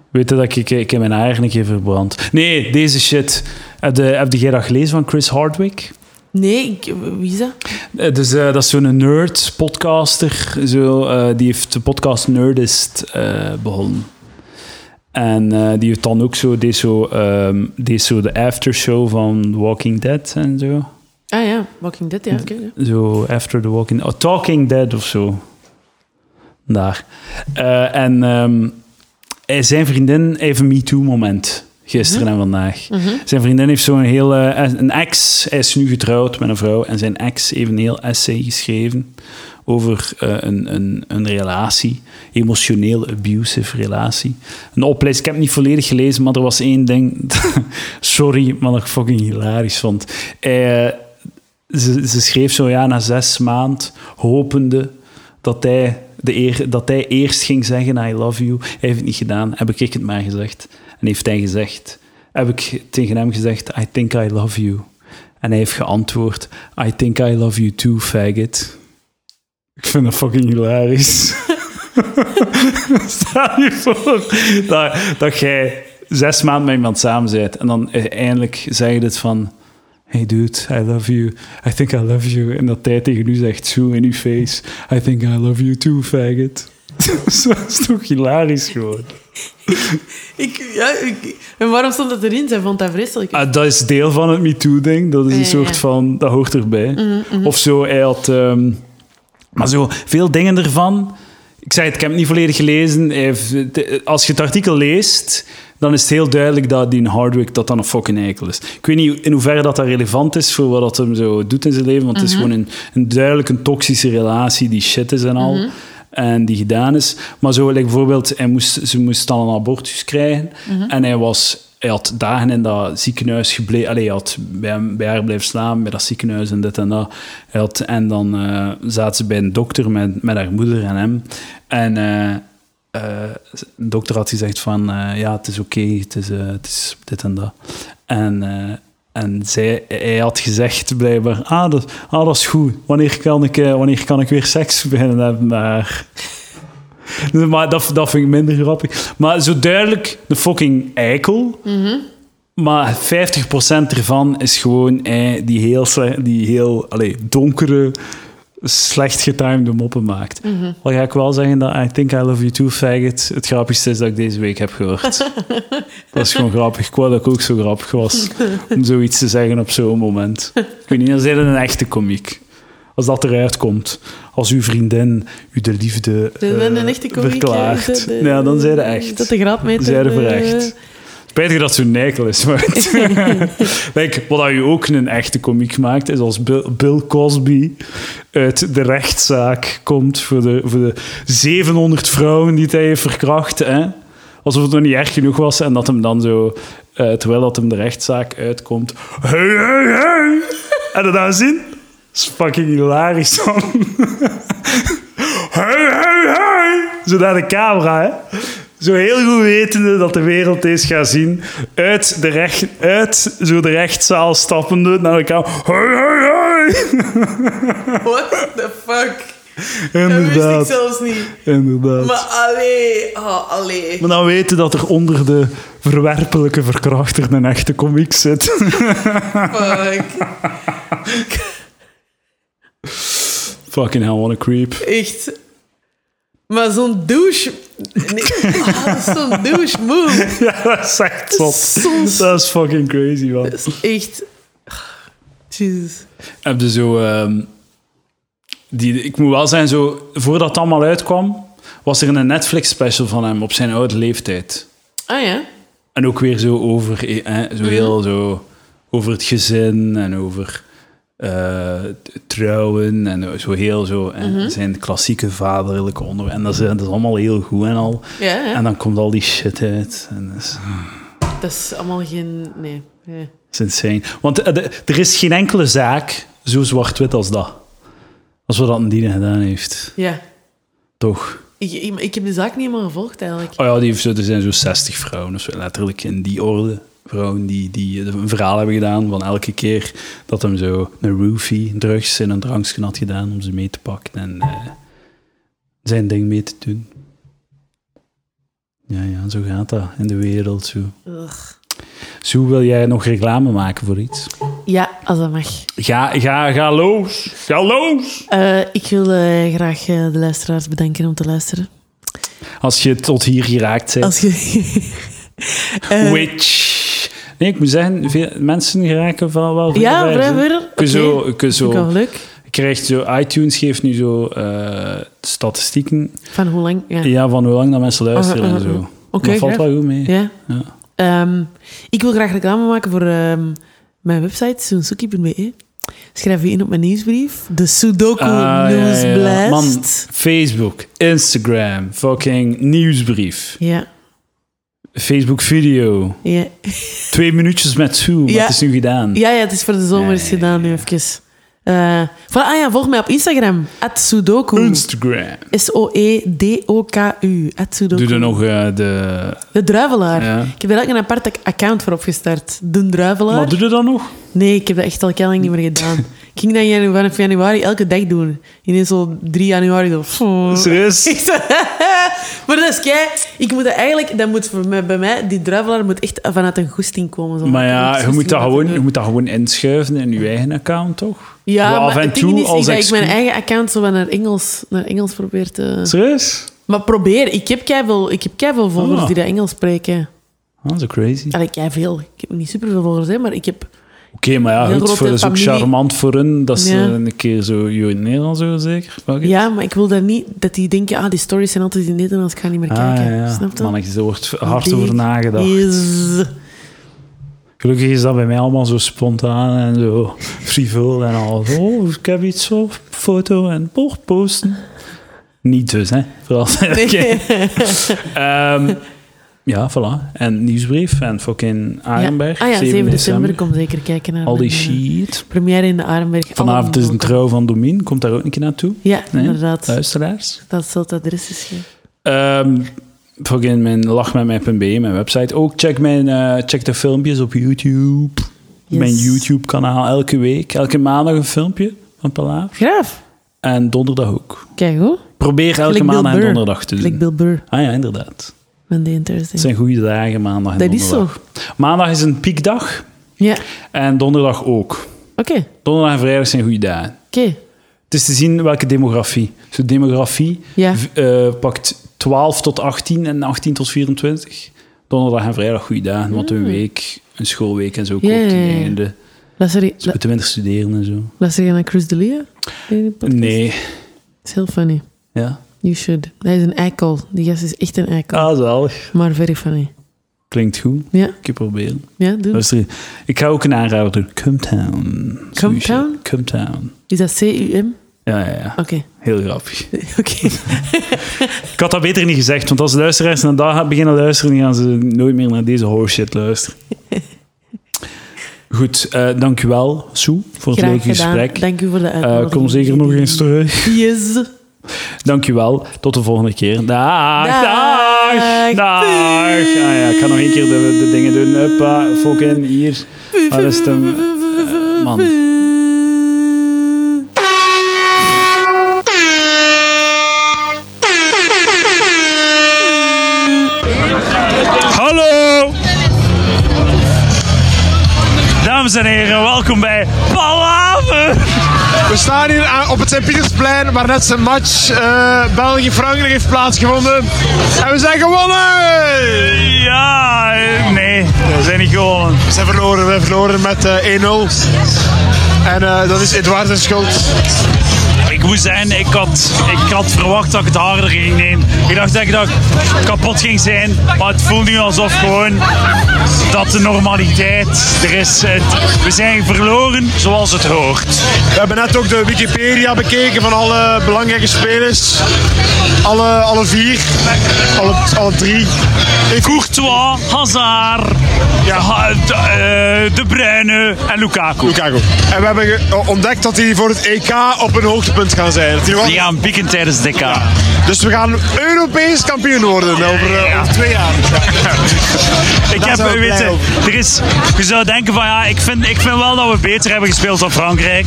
Speaker 2: Weet je dat ik, ik heb mijn haar een keer verbrand? Nee, deze shit. Heb je, heb jij dat gelezen van Chris Hardwick?
Speaker 1: Nee, ik, wie is dat?
Speaker 2: Eh, Dus eh, dat is zo'n nerd, podcaster. Zo, eh, die heeft de podcast Nerdist eh, begonnen. En eh, die heeft dan ook zo, deze zo, ehm, deze zo de aftershow van Walking Dead en zo.
Speaker 1: Ah ja, Walking Dead, ja. oké, ja.
Speaker 2: Zo, After the Walking... Oh, Talking Dead of zo. Daar. Eh, en ehm, hij- zijn vriendin heeft een MeToo-moment. Gisteren en vandaag. Zijn vriendin heeft zo'n heel... eh, een ex... Hij is nu getrouwd met een vrouw. En zijn ex heeft een heel essay geschreven over eh, een, een, een relatie. Emotioneel abusive relatie. Een opleiding. Ik heb het niet volledig gelezen, maar er was één ding... [laughs] sorry, maar dat ik fucking hilarisch vond. Eh, Hij, ze, ze schreef zo ja, na zes maand, hopende dat hij, de eer, dat hij eerst ging zeggen I love you. Hij heeft het niet gedaan, heb ik het maar gezegd. En heeft hij gezegd, heb ik tegen hem gezegd I think I love you. En hij heeft geantwoord I think I love you too, faggot. Ik vind dat fucking hilarisch. [laughs] Stel je voor dat, dat jij zes maanden met iemand samen bent en dan eindelijk zeg je dit van... Hey dude, I love you. I think I love you. En dat hij tegen u zegt, zo in uw face. I think I love you too, faggot. [laughs] dat is toch hilarisch gewoon.
Speaker 1: Ik, ja ik, en waarom stond dat erin? Zij vond dat vreselijk.
Speaker 2: Ah, dat is deel van het MeToo-ding. Dat is
Speaker 1: Ja, ja,
Speaker 2: een
Speaker 1: Mhm,
Speaker 2: soort
Speaker 1: ja.
Speaker 2: van... Dat hoort erbij. Of zo, hij had... ehm, maar zo, veel dingen ervan... Ik zei het, ik heb het niet volledig gelezen. Hij heeft- de- Als je het artikel leest, dan is het heel duidelijk dat die Hardwick dat dan een fucking eikel is. Ik weet niet in hoeverre dat, dat relevant is voor wat dat hem zo doet in zijn leven, want
Speaker 1: Mhm.
Speaker 2: het is gewoon een, een duidelijk een toxische relatie die shit is en al.
Speaker 1: Mhm.
Speaker 2: En die
Speaker 1: Mhm.
Speaker 2: gedaan is. Maar zo, like bijvoorbeeld, hij moest, ze moest dan een abortus krijgen. En hij was hij had dagen in dat ziekenhuis gebleven. Allee, hij had bij, hem- bij haar blijven slapen, bij dat ziekenhuis en dit en dat. Hij had, en dan eh, zaten ze bij een dokter met, met haar moeder en hem. En eh, eh, de dokter had gezegd van... eh, ja, het is oké, het, is, eh, het is dit en dat. En, eh, en zij, hij had gezegd blijkbaar... Ah dat, ah, dat is goed. Wanneer kan ik, eh, wanneer kan ik weer seks beginnen hebben met haar?" [laughs] Nee, Maar dat, dat vind ik minder grappig. Maar zo duidelijk de fucking eikel. Maar 50% ervan is gewoon eh, die heel, sle- die heel allee, donkere, slecht getimede moppen maakt.
Speaker 1: Mhm.
Speaker 2: Al ga ik wel zeggen dat I Think I Love You Too, faggot, het grappigste is dat ik deze week heb
Speaker 1: [laughs]
Speaker 2: gehoord. dat is gewoon grappig. Ik wou dat ik ook zo grappig was om zoiets te zeggen op zo'n moment. Ik weet niet, dan zijn een echte komiek. Als dat eruit komt. Als uw vriendin u de liefde
Speaker 1: De, de,
Speaker 2: eh,
Speaker 1: de echte komiek.
Speaker 2: verklaart.
Speaker 1: eh, de-
Speaker 2: ja, dan zijn ze echt.
Speaker 1: Dat de graadmeter...
Speaker 2: Zij er voor
Speaker 1: eh, [laughs]
Speaker 2: echt. Spijtig dat zo'n eikel is. Maar Kijk, wat dat je ook een echte komiek maakt, is als Bill, Bill Cosby uit de rechtszaak komt voor de, voor de 700 vrouwen die hij heeft verkracht. Hè? Alsof het nog niet erg genoeg was en dat hem dan zo, eh, terwijl dat hem de rechtszaak uitkomt. Hey, hey, hey! Heb je dat gezien? Dat is fucking hilarisch, man. [laughs] Hey, hey, hey! Zo naar de camera, hè? Zo heel goed wetende dat de wereld deze gaat zien. Uit de, recht, uit zo de rechtszaal stappende naar de camera. Hey, hey, hey!
Speaker 1: What the fuck? Dat wist
Speaker 2: Inderdaad.
Speaker 1: ik zelfs niet. Maar
Speaker 2: Inderdaad. Maar,
Speaker 1: allee. Oh, allee.
Speaker 2: dan weten dat er onder de verwerpelijke verkrachter een echte komiek zit.
Speaker 1: Fuck.
Speaker 2: Fucking hell, what a creep.
Speaker 1: Echt. Maar zo'n douche... Nee. [laughs] Ah, dat is zo'n douche move.
Speaker 2: Ja, dat is echt zot.
Speaker 1: Soms-
Speaker 2: Dat is fucking crazy, man.
Speaker 1: Dat is echt... Jesus.
Speaker 2: heb je zo. ehm, die, ik moet wel zijn, zo, voordat het allemaal uitkwam, was er een Netflix special van hem op zijn oude leeftijd.
Speaker 1: Ah ja?
Speaker 2: En ook weer zo over, eh,
Speaker 1: Mhm.
Speaker 2: zo heel zo, over het gezin en over eh, t- trouwen. En zo heel zo. En
Speaker 1: Mhm.
Speaker 2: zijn klassieke vaderlijke onderwerpen. En dat is, dat is allemaal heel goed en al.
Speaker 1: Ja, ja.
Speaker 2: En dan komt al die shit uit. En dat is,
Speaker 1: Dat is allemaal geen... Nee. Ja.
Speaker 2: Dat is insane. Want eh, de- er is geen enkele zaak zo zwart-wit als dat. Als wat dat een diener gedaan heeft.
Speaker 1: ja.
Speaker 2: Toch?
Speaker 1: Ik, ik, ik heb de zaak niet helemaal gevolgd, eigenlijk.
Speaker 2: Oh ja, die heeft, zo- er zijn zo 60 vrouwen of zo, letterlijk in die orde. Vrouwen die, die een verhaal hebben gedaan van elke keer dat hem zo een roofie, drugs in een drankje had gedaan om ze mee te pakken en eh, zijn ding mee te doen. Ja, ja, zo gaat dat in de wereld. Zo.
Speaker 1: Ugh.
Speaker 2: zo wil jij nog reclame maken voor iets?
Speaker 1: Ja, als dat mag.
Speaker 2: Ga, ga, ga los! Ga los!
Speaker 1: Eh, ik wil eh, graag eh, de luisteraars bedanken om te luisteren.
Speaker 2: Als je tot hier geraakt bent.
Speaker 1: Als je... [laughs] Eh,
Speaker 2: Witch. Nee, ik moet zeggen, veel mensen geraken van wel veel
Speaker 1: Ja, vrij
Speaker 2: wijzen.
Speaker 1: verder.
Speaker 2: Kun je zo,
Speaker 1: Oké.
Speaker 2: kun je
Speaker 1: Vind ik wel
Speaker 2: zo,
Speaker 1: leuk.
Speaker 2: je krijgt zo, iTunes geeft nu zo eh, statistieken
Speaker 1: Van hoe lang? Ja.
Speaker 2: ja, van hoe lang dat mensen luisteren
Speaker 1: Ah, ah,
Speaker 2: en zo.
Speaker 1: ah. Oké,
Speaker 2: dat valt
Speaker 1: graag.
Speaker 2: wel goed mee.
Speaker 1: Ja.
Speaker 2: Ja.
Speaker 1: Ehm, ik wil graag reclame maken voor ehm, mijn website, soensuki.be. Schrijf je in op mijn nieuwsbrief. De Sudoku
Speaker 2: Ah, ja, ja, ja. Man,
Speaker 1: Nieuwsblast.
Speaker 2: Facebook, Instagram, fucking nieuwsbrief,
Speaker 1: Ja,
Speaker 2: Facebook video,
Speaker 1: ja.
Speaker 2: twee minuutjes met Sue, maar
Speaker 1: Ja.
Speaker 2: het is nu gedaan.
Speaker 1: ja, ja, het is voor de zomer is
Speaker 2: Ja, ja,
Speaker 1: gedaan nu even. Eh, voilà, ah ja, volg mij op Instagram. Sudoku. E
Speaker 2: Instagram.
Speaker 1: S-O-E-D-O-K-U. Sudoku.
Speaker 2: Doe er nog eh, de...
Speaker 1: De Druivelaar.
Speaker 2: Ja.
Speaker 1: Ik heb daar ook een apart account voor opgestart. De Druivelaar.
Speaker 2: Wat doe je dan nog?
Speaker 1: Nee, ik heb dat echt al heel lang niet meer gedaan. ik ging dat in janu- vanaf januari elke dag doen. Ineens zo 3 januari zo... pff.
Speaker 2: Serieus?
Speaker 1: Ik zo, [laughs] maar dat is kei... Ik moet dat eigenlijk... Dat moet voor mij, bij mij, die druivelaar moet echt vanuit een goesting komen. Zo.
Speaker 2: Maar
Speaker 1: Ik heb
Speaker 2: ja, je moet,
Speaker 1: goesting
Speaker 2: dat
Speaker 1: om
Speaker 2: gewoon,
Speaker 1: te
Speaker 2: je
Speaker 1: doen.
Speaker 2: moet dat gewoon inschuiven in je eigen account, toch?
Speaker 1: Ja,
Speaker 2: Wel
Speaker 1: maar het ding is, is dat ik
Speaker 2: excuus.
Speaker 1: mijn eigen account zo wat naar Engels, naar Engels probeer te...
Speaker 2: Serieus?
Speaker 1: Maar probeer. Ik heb keiveel, ik heb keiveel volgers
Speaker 2: Ah.
Speaker 1: die dat Engels spreken.
Speaker 2: Ah, zo crazy. Oké,
Speaker 1: Allee, keiveel. Ik heb niet superveel volgers, hè, maar ik heb...
Speaker 2: maar ja,
Speaker 1: Heel
Speaker 2: goed,
Speaker 1: grote
Speaker 2: voor, dat is ook
Speaker 1: familie.
Speaker 2: charmant voor hun dat ze
Speaker 1: Ja.
Speaker 2: een keer zo je in Nederland zo zeker. Fuck it.
Speaker 1: Ja, maar ik wil daar niet dat die denken, ah, die stories zijn altijd in Nederlands, ik ga niet meer
Speaker 2: Ah,
Speaker 1: kijken.
Speaker 2: ja, ja.
Speaker 1: Snap je?
Speaker 2: Man, ik- er wordt hard
Speaker 1: Die
Speaker 2: over nagedacht.
Speaker 1: is-
Speaker 2: Gelukkig is dat bij mij allemaal zo spontaan en zo frivol en al. Oh, ik heb iets op foto en
Speaker 1: [laughs]
Speaker 2: poort posten. Niet dus, hè? Vooral.
Speaker 1: Nee.
Speaker 2: Ehm, Ja, voilà. En nieuwsbrief en fucking Arenberg.
Speaker 1: Ja. Ah ja, 7,
Speaker 2: 7
Speaker 1: december. Kom zeker kijken naar
Speaker 2: Al die
Speaker 1: mijn, eh,
Speaker 2: shit.
Speaker 1: Première in de Arenberg.
Speaker 2: Vanavond
Speaker 1: Allemaal
Speaker 2: is een
Speaker 1: welkom.
Speaker 2: trouw van Domien. Komt daar ook een keer naartoe?
Speaker 1: Ja,
Speaker 2: Nee?
Speaker 1: inderdaad.
Speaker 2: Luisteraars.
Speaker 1: Dat zal het adres is. ja.
Speaker 2: Ehm fucking mijn lachmetmij.be, mijn website. Ook check, mijn, eh, check de filmpjes op YouTube.
Speaker 1: Yes.
Speaker 2: Mijn YouTube-kanaal elke week. Elke maandag een filmpje van Palaver.
Speaker 1: Graaf.
Speaker 2: En donderdag ook.
Speaker 1: Kijk hoor.
Speaker 2: Probeer elke
Speaker 1: Gelijk Bill
Speaker 2: maandag en
Speaker 1: Burr.
Speaker 2: donderdag te
Speaker 1: Like
Speaker 2: doen.
Speaker 1: Bill Burr,
Speaker 2: Ah ja, inderdaad.
Speaker 1: Monday and Thursday.
Speaker 2: Het zijn goede dagen, maandag en
Speaker 1: Dat is
Speaker 2: donderdag. Maandag is een piekdag
Speaker 1: Ja.
Speaker 2: en donderdag ook.
Speaker 1: Oké.
Speaker 2: Donderdag en vrijdag zijn goede dagen.
Speaker 1: Oké.
Speaker 2: Het is te zien welke demografie. Dus de demografie
Speaker 1: Ja.
Speaker 2: v- eh, pakt 12 tot 18 en 18 tot 24. Donderdag en vrijdag goede dagen, want een week, een schoolweek en zo
Speaker 1: Ah. Ja,
Speaker 2: komt
Speaker 1: ja,
Speaker 2: die
Speaker 1: ja.
Speaker 2: einde.
Speaker 1: Luister je-
Speaker 2: Ze moeten minder studeren en zo.
Speaker 1: luister je naar Chris D'Elia? in de podcast?
Speaker 2: Nee.
Speaker 1: Het is heel funny.
Speaker 2: Ja.
Speaker 1: You should. Hij is een eikel. Die gast is echt een eikel.
Speaker 2: Ah, zalig.
Speaker 1: Maar very funny.
Speaker 2: Klinkt goed.
Speaker 1: Ja,
Speaker 2: Ik proberen.
Speaker 1: ja doe.
Speaker 2: Luister, ik ga ook een aanrader doen. Cumtown.
Speaker 1: Cumtown?
Speaker 2: Cumtown.
Speaker 1: Is dat C-U-M?
Speaker 2: Ja, ja, ja.
Speaker 1: Oké. [laughs]
Speaker 2: Heel grappig.
Speaker 1: Oké.
Speaker 2: Ik had dat beter niet gezegd, want als luisteraars naar dat gaan beginnen luisteren, dan gaan ze nooit meer naar deze horseshit luisteren. Goed, eh dankjewel, Sue, voor het
Speaker 1: Graag
Speaker 2: leuke
Speaker 1: gedaan.
Speaker 2: gesprek.
Speaker 1: Dank u voor de
Speaker 2: Eh,
Speaker 1: uitnodiging.
Speaker 2: kom zeker nog eens terug.
Speaker 1: Yes.
Speaker 2: Dankjewel, tot de volgende keer. Dag, dag,
Speaker 1: Dag.
Speaker 2: dag. Ah ja, ik ga nog één keer de, de dingen doen. Huppa, fucking hier. Waar is
Speaker 1: [laughs]
Speaker 2: het hem? Eh, man.
Speaker 5: Hallo! Dames en heren, welkom bij Palaver!
Speaker 6: We staan hier aan- op het Sint-Pietersplein, waar net zijn match eh, België-Frankrijk heeft plaatsgevonden. En we zijn gewonnen!
Speaker 5: Ja, eh, nee, we zijn niet gewonnen.
Speaker 6: We zijn verloren, we hebben verloren met eh, 1-0. En eh, dat is Edouard zijn schuld.
Speaker 5: Ik moet zijn, ik had, ik had verwacht dat ik het harder ging nemen. Ik dacht dat ik, dat ik kapot ging zijn, maar het voelt nu alsof gewoon dat de normaliteit er is. Het- we zijn verloren zoals het hoort.
Speaker 6: We hebben net ook de Wikipedia bekeken van alle belangrijke spelers. Alle, alle vier, alle, alle drie. Ik
Speaker 5: Courtois, Hazard, Ha- de, eh, De Bruyne en Lukaku.
Speaker 6: Lukaku. En we hebben ge- eh, ontdekt dat die voor het EK op een hoogtepunt gaan zijn. Dat die nog
Speaker 5: Die gaan pieken tijdens het DK.
Speaker 6: Dus we gaan Europees kampioen worden over, eh, over twee jaar.
Speaker 5: Ik
Speaker 6: Daar zijn
Speaker 5: heb,
Speaker 6: we
Speaker 5: weet
Speaker 6: blij
Speaker 5: je,
Speaker 6: over.
Speaker 5: er is, je zou denken van ja, ik vind, ik vind wel dat we beter hebben gespeeld dan Frankrijk.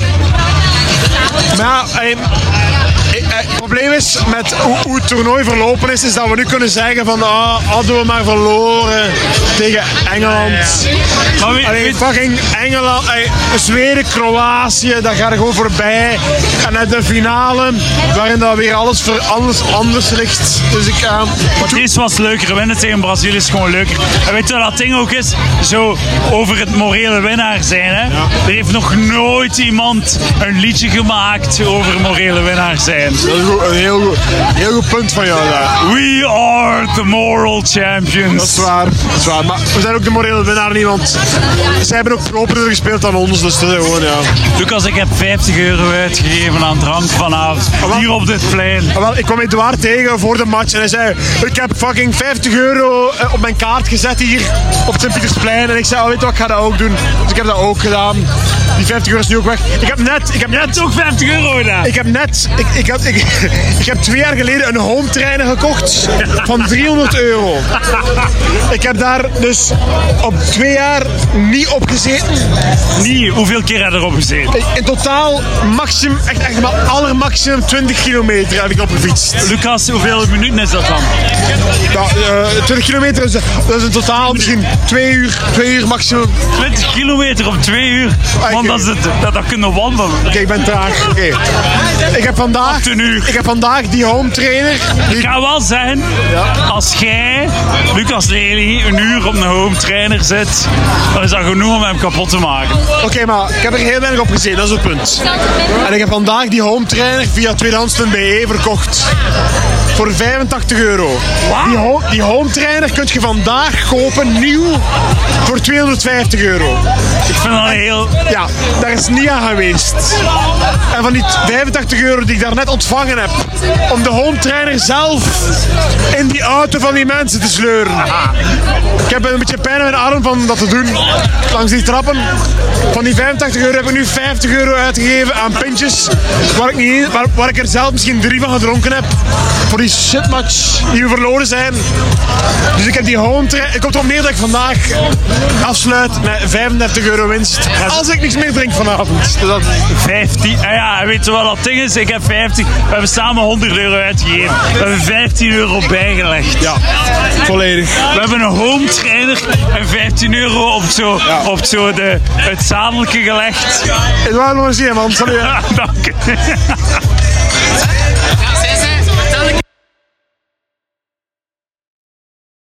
Speaker 6: Maar ja, eh, eh, eh, het probleem is met hoe, hoe het toernooi verlopen is, is dat we nu kunnen zeggen van ah, hadden we maar verloren tegen Engeland.
Speaker 5: Maar weet-
Speaker 6: Allee,
Speaker 5: weet-
Speaker 6: fucking Engeland, eh, Zweden, Kroatië, dat gaat er gewoon voorbij. En net de finale, waarin dat weer alles, ver, alles anders ligt. Dus ik, eh,
Speaker 5: Maar deze was leuker. Winnen tegen Brazilië is gewoon leuker. En weet je wat dat ding ook is? Zo over het morele winnaar zijn. Hè? Er heeft nog nooit iemand een liedje gemaakt over morele winnaar zijn.
Speaker 6: dat is een, goed- een heel, goed- heel goed punt van jou daar.
Speaker 5: We are the moral
Speaker 6: Dat is
Speaker 5: champions.
Speaker 6: waar, dat is waar. Maar we zijn ook de morele winnaar niet, want zij hebben ook properder gespeeld dan ons. Dus dat is gewoon, ja.
Speaker 5: Lucas, ik heb 50 euro uitgegeven aan drank vanavond. Hier op dit plein.
Speaker 6: Maar Ah, wel, ik kwam Edouard tegen voor de match en hij zei: Ik heb fucking 50 euro eh, op mijn kaart gezet hier op het Sint-Pietersplein. En ik zei: oh, Weet je wat, ik ga dat ook doen. Dus ik heb dat ook gedaan. Die 50 euro is nu ook weg. Ik heb net, ik heb net,
Speaker 5: Ook 50 euro daar.
Speaker 6: ik heb net, ik, ik, heb, ik, [laughs] ik heb twee jaar geleden een home trainer gekocht van 300 euro. Ik heb daar dus op twee jaar niet op gezeten.
Speaker 5: Niet, hoeveel keer heb je erop gezeten?
Speaker 6: In totaal maximum, echt, echt maar allermaximum 20 kilometer heb ik opgefietst.
Speaker 5: Lucas, hoeveel minuten is dat dan?
Speaker 6: Ja, eh, 20 kilometer is, dat is in totaal misschien 2 uur, 2 uur maximum.
Speaker 5: 20 kilometer op 2 uur. Want dat, is het, dat, dat kunnen we wandelen.
Speaker 6: Ah, Oké, ik ben traag. Oké. Ik, heb vandaag,
Speaker 5: Op een uur.
Speaker 6: ik heb vandaag die home trainer. Die,
Speaker 5: Ik ga wel zeggen, als jij, Lucas Lely, een uur op een home trainer zit, dan is dat genoeg om hem kapot te maken.
Speaker 6: Oké, maar ik heb er heel weinig op gezien, dat is het punt. En ik heb vandaag die home trainer via tweedehands.be E verkocht. voor 85 euro. Die, ho- die home trainer kun je vandaag kopen, nieuw, voor 250 euro.
Speaker 5: Ik vind dat heel...
Speaker 6: Ja, daar is niet aan geweest. En van die 85 euro die ik daarnet ontvangen heb, om de home trainer zelf in die auto van die mensen te sleuren. Ik heb een beetje pijn aan mijn arm van dat te doen, langs die trappen. Van die 85 euro heb ik nu 50 euro uitgegeven aan pintjes, waar ik, niet, waar, waar ik er zelf misschien drie van gedronken heb. Voor die shitmatch die we verloren zijn. Dus ik heb die home trainer... Het komt erop neer dat ik vandaag afsluit met 35 euro winst. Als ik niks meer drink vanavond. Dus dat,
Speaker 5: 15. Ah ja, weet je wat dat ding is? Ik heb 15. We hebben samen 100 euro uitgegeven. We hebben 15 euro bijgelegd.
Speaker 6: ja, volledig.
Speaker 5: We hebben een home trainer en 15 euro op zo, op zo de, het zadeltje gelegd. [laughs]
Speaker 6: Het waren nog eens iemand. Salut. hè.
Speaker 5: Dank.